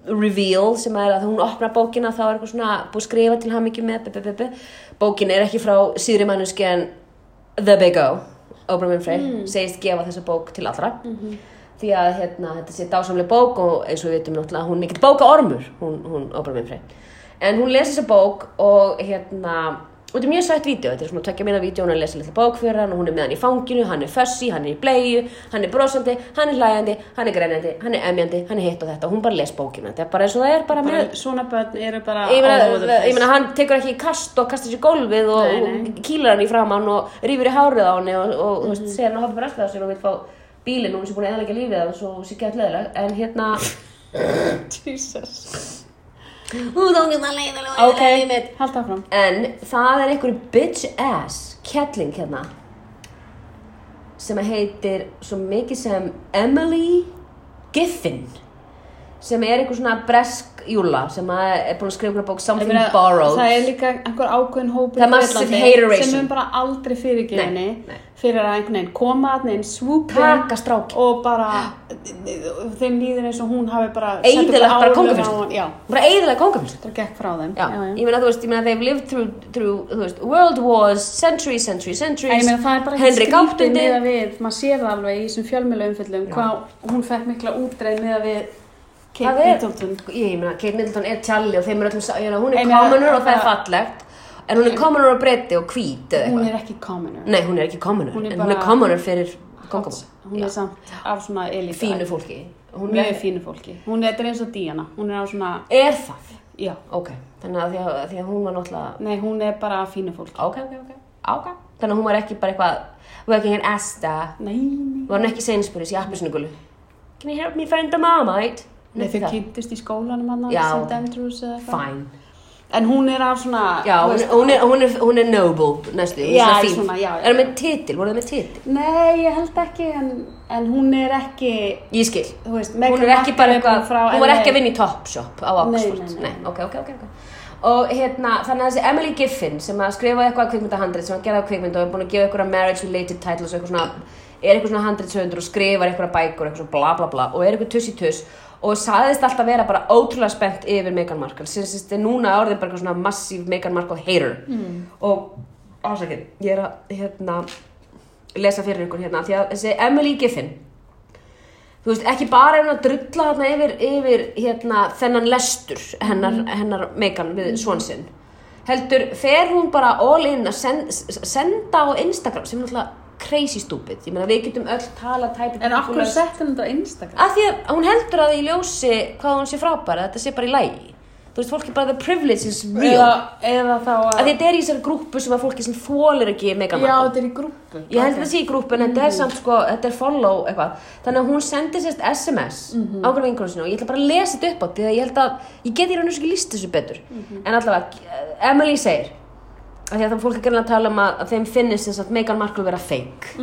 reveal sem er að hún opnar bókina þá er eitthvað svona búið að skrifa til hann ekki með bu, bu, bu, bu. bókin er ekki frá síðri mannuski en The Big O Oprah Winfrey segist gefa þessa bók til allra því að hérna, þetta sé dásamlega bók og eins og við veitum náttúrulega hún er mikill bókaormur hún, hún Oprah Winfrey en hún lesi þessa bók og hérna og þetta er mjög sætt vídeo, þetta er svona tökja minna vídeo hún er að lesa litla bók fyrir hann og hún er með hann í fanginu hann er fössi, hann er í bleiu, hann er brosandi hann er hlæjandi, hann er grænjandi, hann er emjandi hann er hitt og þetta og hún bara les bókina þetta er bara eins og það er bara með Bara Svona börn eru bara ég meina, all over the place. ég meina, hann tekur ekki í kast og kastar sér í gólfið og, Nei, nei. Mhm. og kýlar hann í framann og rýfur í hárið á hann og, og þú veist, segir hann að hoppa fyrir alltaf sér og vil fá bílinn og hún sé búin að eðalega lífið hans og sé gett leðileg en hérna, Jesus Hún þóngi það leiðilega ok Hald áfram en það er einhver bitch ass kettling hérna sem að heitir svo mikið sem Emily Giffin sem er einhver svona bresk júla sem að er búin að skrifa einhverja bók Ég Something meina, Borrowed Það er líka einhver ákveðin hópur Það er í massive Bretlandi hateration. sem mun bara aldrei Nei, fyrirgefinni nei. fyrir að einhvern veginn koma að neinn swoopa taka stráki og bara þeim líður eins og hún hafi bara sett Eyðilagt einhver bara álög á kóngafjölskyldu. hann. Já, bara eiginlega kóngafjölskyldu það gekk frá þeim já. ég meina þú veist, ég meina they've lived through, through þú veist, world wars, centuries, centuries, En ég centuries meina það er bara Henry ekkert skrítið VIII. með að við, maður sér það alveg í þessum fjölmjölu umfyllum hvað hún fekk mikla útreið með að við Kate Það er- Middleton. ég meina Kate Middleton er tjalli og þeim er öllum sa- ég meina, hún Ég er meina, commoner og það er það- fallegt en hún er commoner og breyti og hvít eða Hún eitthvað er ekki um. commoner. nei, hún er ekki commoner, Hún er en hún er bara- commoner fyrir kongabók, Hún er samt af svona elita. fínu fólki hún Mjög er, fínu fólki. Hún er, þetta er eins og Diana. Hún er á svona, er það já. ok, þannig að því að, því að hún var náttúrulega Nei, hún er bara af fínu fólki. ok, ok, ok, ok þannig að hún var ekki bara eitthvað working in Asta Nei, nei. var hún ekki seinspuris í appisnugulu can you help me find the marmite Nei, þau Það. kynntist í skólanum hann á Já. St. Andrews eða eitthvað. fine En hún er af svona, Já, þú hún, veist, hún, er, hún, er, hún er noble næstu, hún Já, er fín. svona, já, já. Er það með titil, voru það með titil? Nei, ég held ekki, en, en hún er ekki, Ég skil þú veist, Hún er Meghan ekki Markle bara er bara eitthvað, frá hún var LA. ekki að vinna í Topshop á Oxford nei, nei. ok, ok, ok, ok Og hérna, þannig að þessi Emily Giffin sem að skrifa eitthvað kvikmyndahandrit sem að gera kvikmynd og er búin að gefa eitthvað marriage related titles eitthvað svona, er eitthvað svona handritsöfundur og skrifar eitthvað bækur, eitthvað svona bla bla bla og er eitthvað tuss í tuss og saðist alltaf vera bara ótrúlega spennt yfir Meghan Markle sem sérst er núna orðin bara eitthvað svona massíf Meghan Markle hater mm. og ásakið, ég er að hérna lesa fyrir ykkur hérna því að þessi Emily Giffin þú veist, ekki bara er hún að drulla þarna yfir, yfir hérna, þennan lestur hennar, Mm. hennar Megan við svonsinn heldur, fer hún bara all in að sen, s- senda á Instagram sem er náttúrulega crazy stupid ég meina við getum öll tala tæpið En okkur að settum þetta á Instagram? því að hún heldur að í ljósi hvað hún sé frábæra, þetta sé bara í lægi þú veist, fólk er bara the privilege is real eða, eða þá að að þetta er í þessari grúppu sem að fólki sem þólir ekki mega já, margt þetta er í grúpu ég held að það sé í grúppu en þetta er samt sko, þetta er follow eitthvað þannig að hún sendi sérst SMS mm -hmm. ákveð vinkunum sinu og ég ætla bara að lesa þetta upp á því að ég held að, ég get í raun og svo ekki líst þessu betur en allavega, Emily segir af því að það fólk er gerðin að tala um að, að þeim finnist sem sagt Meghan Markle vera fake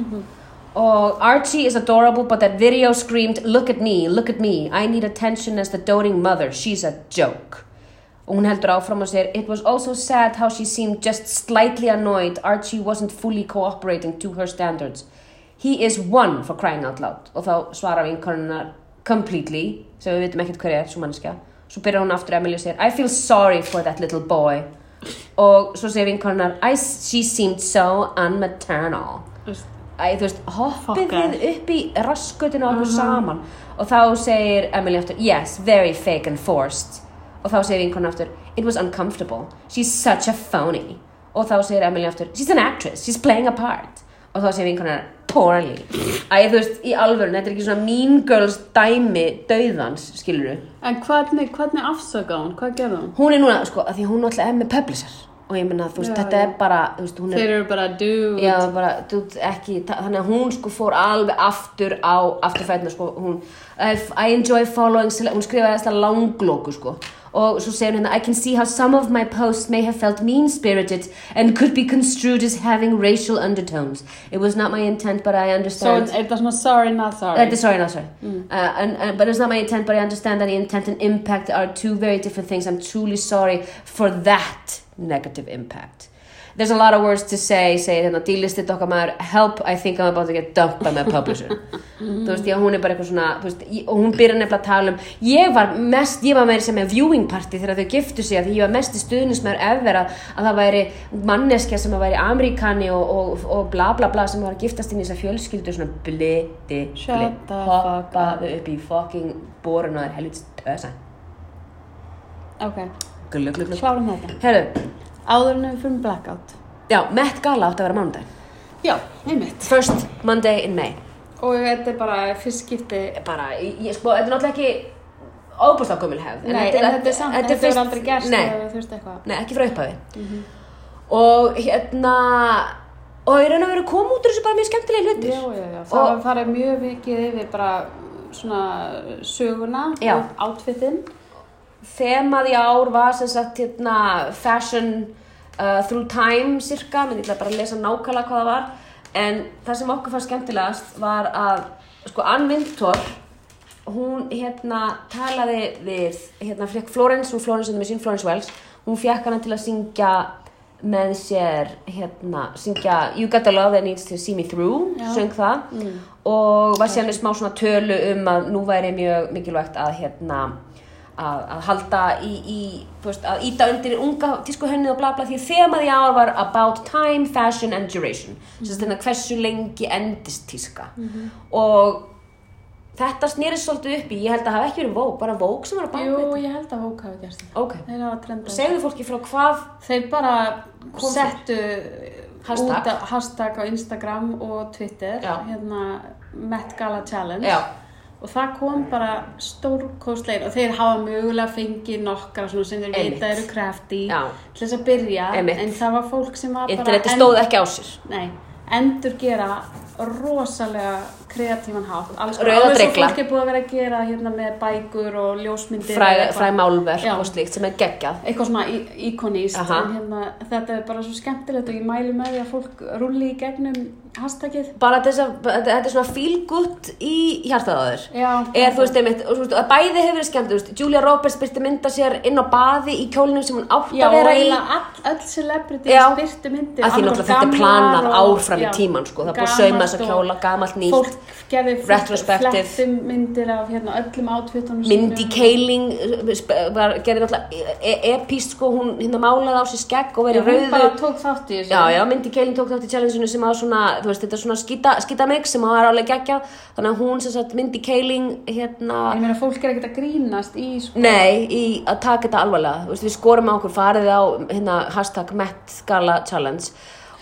og Archie is adorable but that video screamed look at me, look at me I need attention as the doting mother, she's a joke og hún heldur áfram og segir it was also sad how she seemed just slightly annoyed Archie wasn't fully cooperating to her standards he is one for crying out loud og þá svarar vinkonunar completely sem við vitum ekkert hver er, svo mannskja svo byrjar hún aftur Emily og segir I feel sorry for that little boy og svo segir vinkonunar "I- she seemed so unmaternal Æ, þú veist, hoppið Fokkar. þið upp í raskutinu Mhm. okkur saman og þá segir Emily aftur, yes, very fake and forced og þá segir vinkona aftur, it was uncomfortable she's such a phony og þá segir Emily aftur, she's an actress, she's playing a part og þá segir vinkona, poorly Æ, þú veist, í alvöru, þetta er ekki svona mean girls dæmi dauðans, skilur du en hvernig, hvernig afsaka hún, hvað gerði hún hún er núna, sko, að því hún náttúrulega er með publisher og ég meina, þú veist, Já, þetta já. er bara þú veist, hún er þeir eru bara dude Já, bara, þú, veist, ekki, ta- þannig að hún sko fór alveg aftur á afturfætna sko, hún, I, I enjoy following, cele- hún skrifaði þesslega langlóku sko og svo segir hún hérna, I can see how some of my posts may have felt mean-spirited and could be construed as having racial undertones. It was not my intent but I so understand. er þetta svona sorry not sorry Þetta er sorry, not sorry. Uh, and, and, but it's not my intent, but I understand that the intent and impact are two very different things. I'm truly sorry for that negative impact. There's a lot of words to say, segir hérna, dílistið okkar maður, help, I think I'm about to get dumped by my publisher. Mm. þú veist, já, hún er bara eitthvað svona, þú veist, ég- og hún byrjar nefnilega að tala um, ég var mest, ég var meira sem er viewing party þegar þau giftu sig, af því ég var mest í stuðnismæður ever að, að það væri manneskja sem að væri ameríkani og, og, og bla bla bla sem var að giftast inn í þessa fjölskyldu, svona bliti, Shut the fuck up. hoppaðu upp í fucking borun og það er helvits tösa ok, glug, glug, glug. klárum þetta Herru, áður en við fyrir blackout já, Met Gala átti að vera mánudag já, einmitt First Monday in May og þetta er bara fyrst skipti bara, ég, ég- sko, þetta er náttúrulega ekki óbúrslega gömul hefð nei, en þetta er samt, þetta fyrst- er aldrei gerst Mhm. Nei, eða þú veist eitthvað Nei, ekki frá upphafi. Og hérna, og ég raun að vera að koma út úr þessu bara mjög skemmtilega hlutir. Já, já, já, það Og- var farið mjög vikið yfir bara svona söguna Já. og átfittinn. Þemað í ár var sem sagt hérna fashion uh, through time cirka, menn ég ætla bara að lesa nákvæmlega hvað það var. En það sem okkur fannst skemmtilegast var að, sko, Ann Vintor, hún hérna talaði við, hérna fekk Florence, hún Florence er með sín Florence Wells, hún fekk hana til að syngja með sér, hérna, syngja You Got a Love That Needs to See Me Through, Já. söng það og var síðan með smá svona tölu um að nú væri mjög mikilvægt að hérna að, að halda í, í þú veist, að íta undir unga tískuhönni og bla bla því þemað í ár var about time, fashion and duration sem þetta hérna hversu lengi endist tíska og þetta snerist svolítið upp í ég held að það hafi ekki verið vók, bara vók sem var að baka Jú, þetta ég held að Vogue hafi gerst þetta. ok, Þeir hafa trendað. segðu fólki frá hvað Þeir bara Kom- settu Hashtag. út af hashtag á Instagram og Twitter, Já. hérna Met Gala Challenge. Já. Og það kom bara stórkostlegin og þeir hafa mögulega fengið nokkra svona sem þeir Einmitt. vita eru crafty Já. til þess að byrja Einmitt. en það var fólk sem var bara interneti enn- stóð ekki á sér Nei, endur gera rosalega kreatífan hátt alls konar. Rauða Alveg svo dregla. fólk er búið að vera að gera hérna með bækur og ljósmyndir fræ, eða eitthvað. fræ málverk Já. og slíkt sem er geggjað eitthvað svona í- íkoníst Aha. en hérna, þetta er bara svo skemmtilegt og ég mælu með því að fólk rulli í gegnum hashtagið bara þess að þetta þetta er svona feel good í hjartaðaður Já. er þú veist einmitt, og, þú veist, að bæði hefur verið skemmt þú veist, Julia Roberts byrti mynda sér inn á baði í kjólnum sem hún átt Já, að og vera í eiginlega all, öll celebrity Já. spyrtu myndir Af því náttúrulega annarkor þetta er gamlar planað og- áfram í já, tímann, sko. Það er búið að sauma gamalt þessa og kjóla, gamalt, nýtt, fólk gerði retrospective. flettum myndir af hérna, öllum átfittunum Mindy Kaling uh, sp- var, gerði náttúrulega e- e- epíst sko, hún hérna málaði á sér skegg og Já, verið hún rauðu bara tók þátt í þessu Já, já, Mindy Kaling tók þátt í challenge-inu sem á svona, þú veist, þetta er svona skýta, skýtamix sem á er alveg geggja, þannig að hún sem sagt Mindy Kaling, hérna, En Ég meina, fólk er ekkert að grínast í sko. Nei, í að taka þetta alvarlega Þú veist, Við skorum á okkur, farið á hérna, hashtag MetGalaChallenge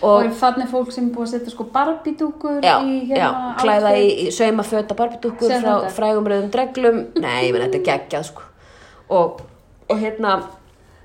Og og, þannig fólk sem er búið að setja sko barbidúkur já, í já, hérna klæða í, outfit. í sauma föta barbidúkur Sem frá þetta. frægum rauðum dreglum Nei, menn þetta er geggjað sko. og, og og hérna,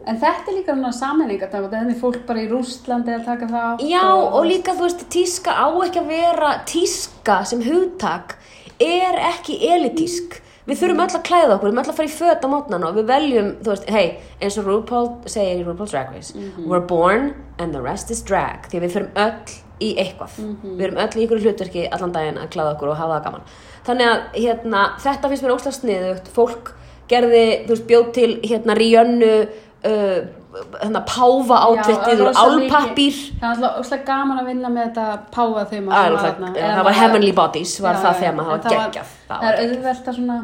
En þetta er líka svona sammenningardagur, það er fólk bara í Rústlandi að taka það átt. já og líka þú veist, tíska á ekki að vera, tíska sem hugtak er ekki elitísk. Við þurfum öll að klæða okkur, við þurfum öll að fara í föt á mótnana og við veljum, þú veist, hei, eins og RuPaul segir í RuPaul's Drag Race, we're born and the rest is drag, því að við förum öll í eitthvað. Við erum öll í ykkur hlutverki allan daginn að klæða okkur og hafa það gaman. Þannig að hérna, þetta finnst mér óslega sniðugt, fólk gerði, þú veist, bjóð til hérna Ríönnu, uh, hérna páfa átvettið og álpappir. Það var alltaf óslega gaman að vinna með þetta páfa þeim Það er alveg- eh, það var Heavenly Bodies, var það þema, það var geggjað. Það er auðvelt að svona,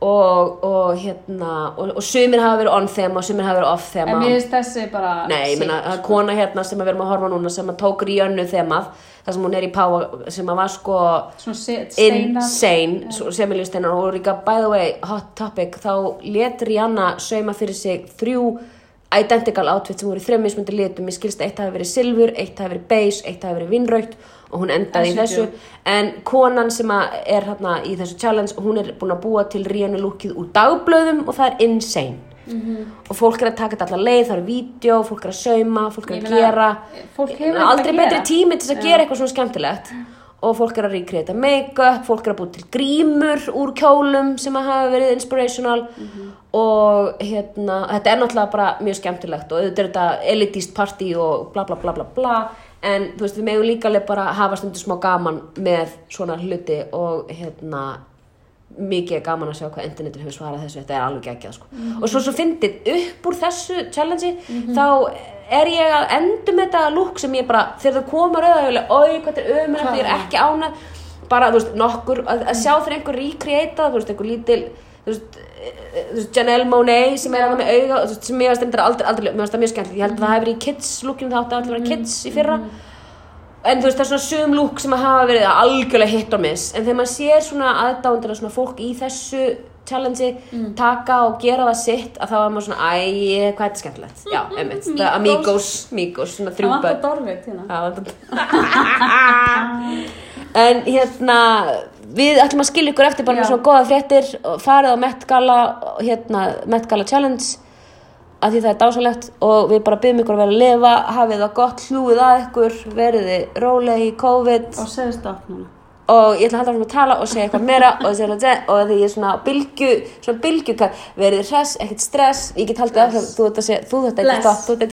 og, og hérna og, og sumir hafa verið on þema og sumir hafa verið off þema en mér finnst þessi bara nei, ég meina, það er kona hérna sem við erum að horfa á núna sem að tók Ríönnu þemað þar sem hún er í Páa, sem að var sko svona set- steinar. insane, Semilju Steinar og líka, by the way, hot topic þá let Rihanna sauma fyrir sig þrjú identical outfit sem voru í þrejum mismundi litum, ég skilst að eitt hafi verið silfur, eitt hafi verið beige, eitt hafi verið vinnraugt og hún endaði í En þessu svíkjum. en konan sem að er hérna í þessu challenge, hún er búin að búa til Rihanna lúkið úr dagblöðum og það er insane og fólk er að taka þetta allar leið, það er vídeo, fólk er að sauma fólk er Ég að meina, gera fólk hefur eitthvað aldrei að betri gera. tími til þess að gera eitthvað svona skemmtilegt og fólk er að recreata make-up, fólk er að búið til grímur úr kjólum sem að hafa verið inspirational Mhm. og hérna, þetta er náttúrulega bara mjög skemmtilegt og auðvitað er þetta elitist party og bla bla bla bla bla en þú veist, við megum líka alveg bara hafa stundu smá gaman með svona hluti og hérna mikið er gaman að sjá hvað internetin hefur svarað þessu, þetta er alveg geggjað sko. og svo svo fyndið upp úr þessu challenge þá er ég að endur með þetta lúk sem ég bara þegar það koma rauðaðjóðlega, oi hvað þetta er ömur ég er ekki ánað, bara þú veist nokkur, að, að sjá þeir einhver recreata þú veist einhver lítil þú veist, eh, þú veist, Janelle Monáe sem er að með auga þú veist, sem ég veist þetta aldrei, aldrei, mér veist það mjög skemmt ég held að það hefur í kids lúkjum það átti að allir vera kids í fyrra En þú veist, það er svona sögum lúk sem að hafa verið algjörlega hit og miss. En þegar maður sér svona aðdándina, svona fólk í þessu challenge Mm. taka og gera það sitt, að þá er maður svona, æ, hvað er þetta skemmtilegt? Mm, Já, einmitt. The Amigos, Migos, svona Það þrjú vantar hérna börn. dormið tína. Það vantar En hérna, við ætlum að skilja ykkur eftir bara með Já. svona góða fréttir og farið á Met Gala, og hérna, Met Gala Challenge að því það er dásalegt og við bara byggjum ykkur að vera að lifa, hafið það gott, hlúið að ykkur, veriði róleg í COVID Og segðist átt núna. og ég ætla að halda áfram að tala og segja eitthvað meira og, segja, eitthvað- og því ég er svona á bylgju, svona bylgjukar, verið hress, ekkert stress, ég get haldið af þú þetta, þú þetta ekki Bless. stopp, þú þetta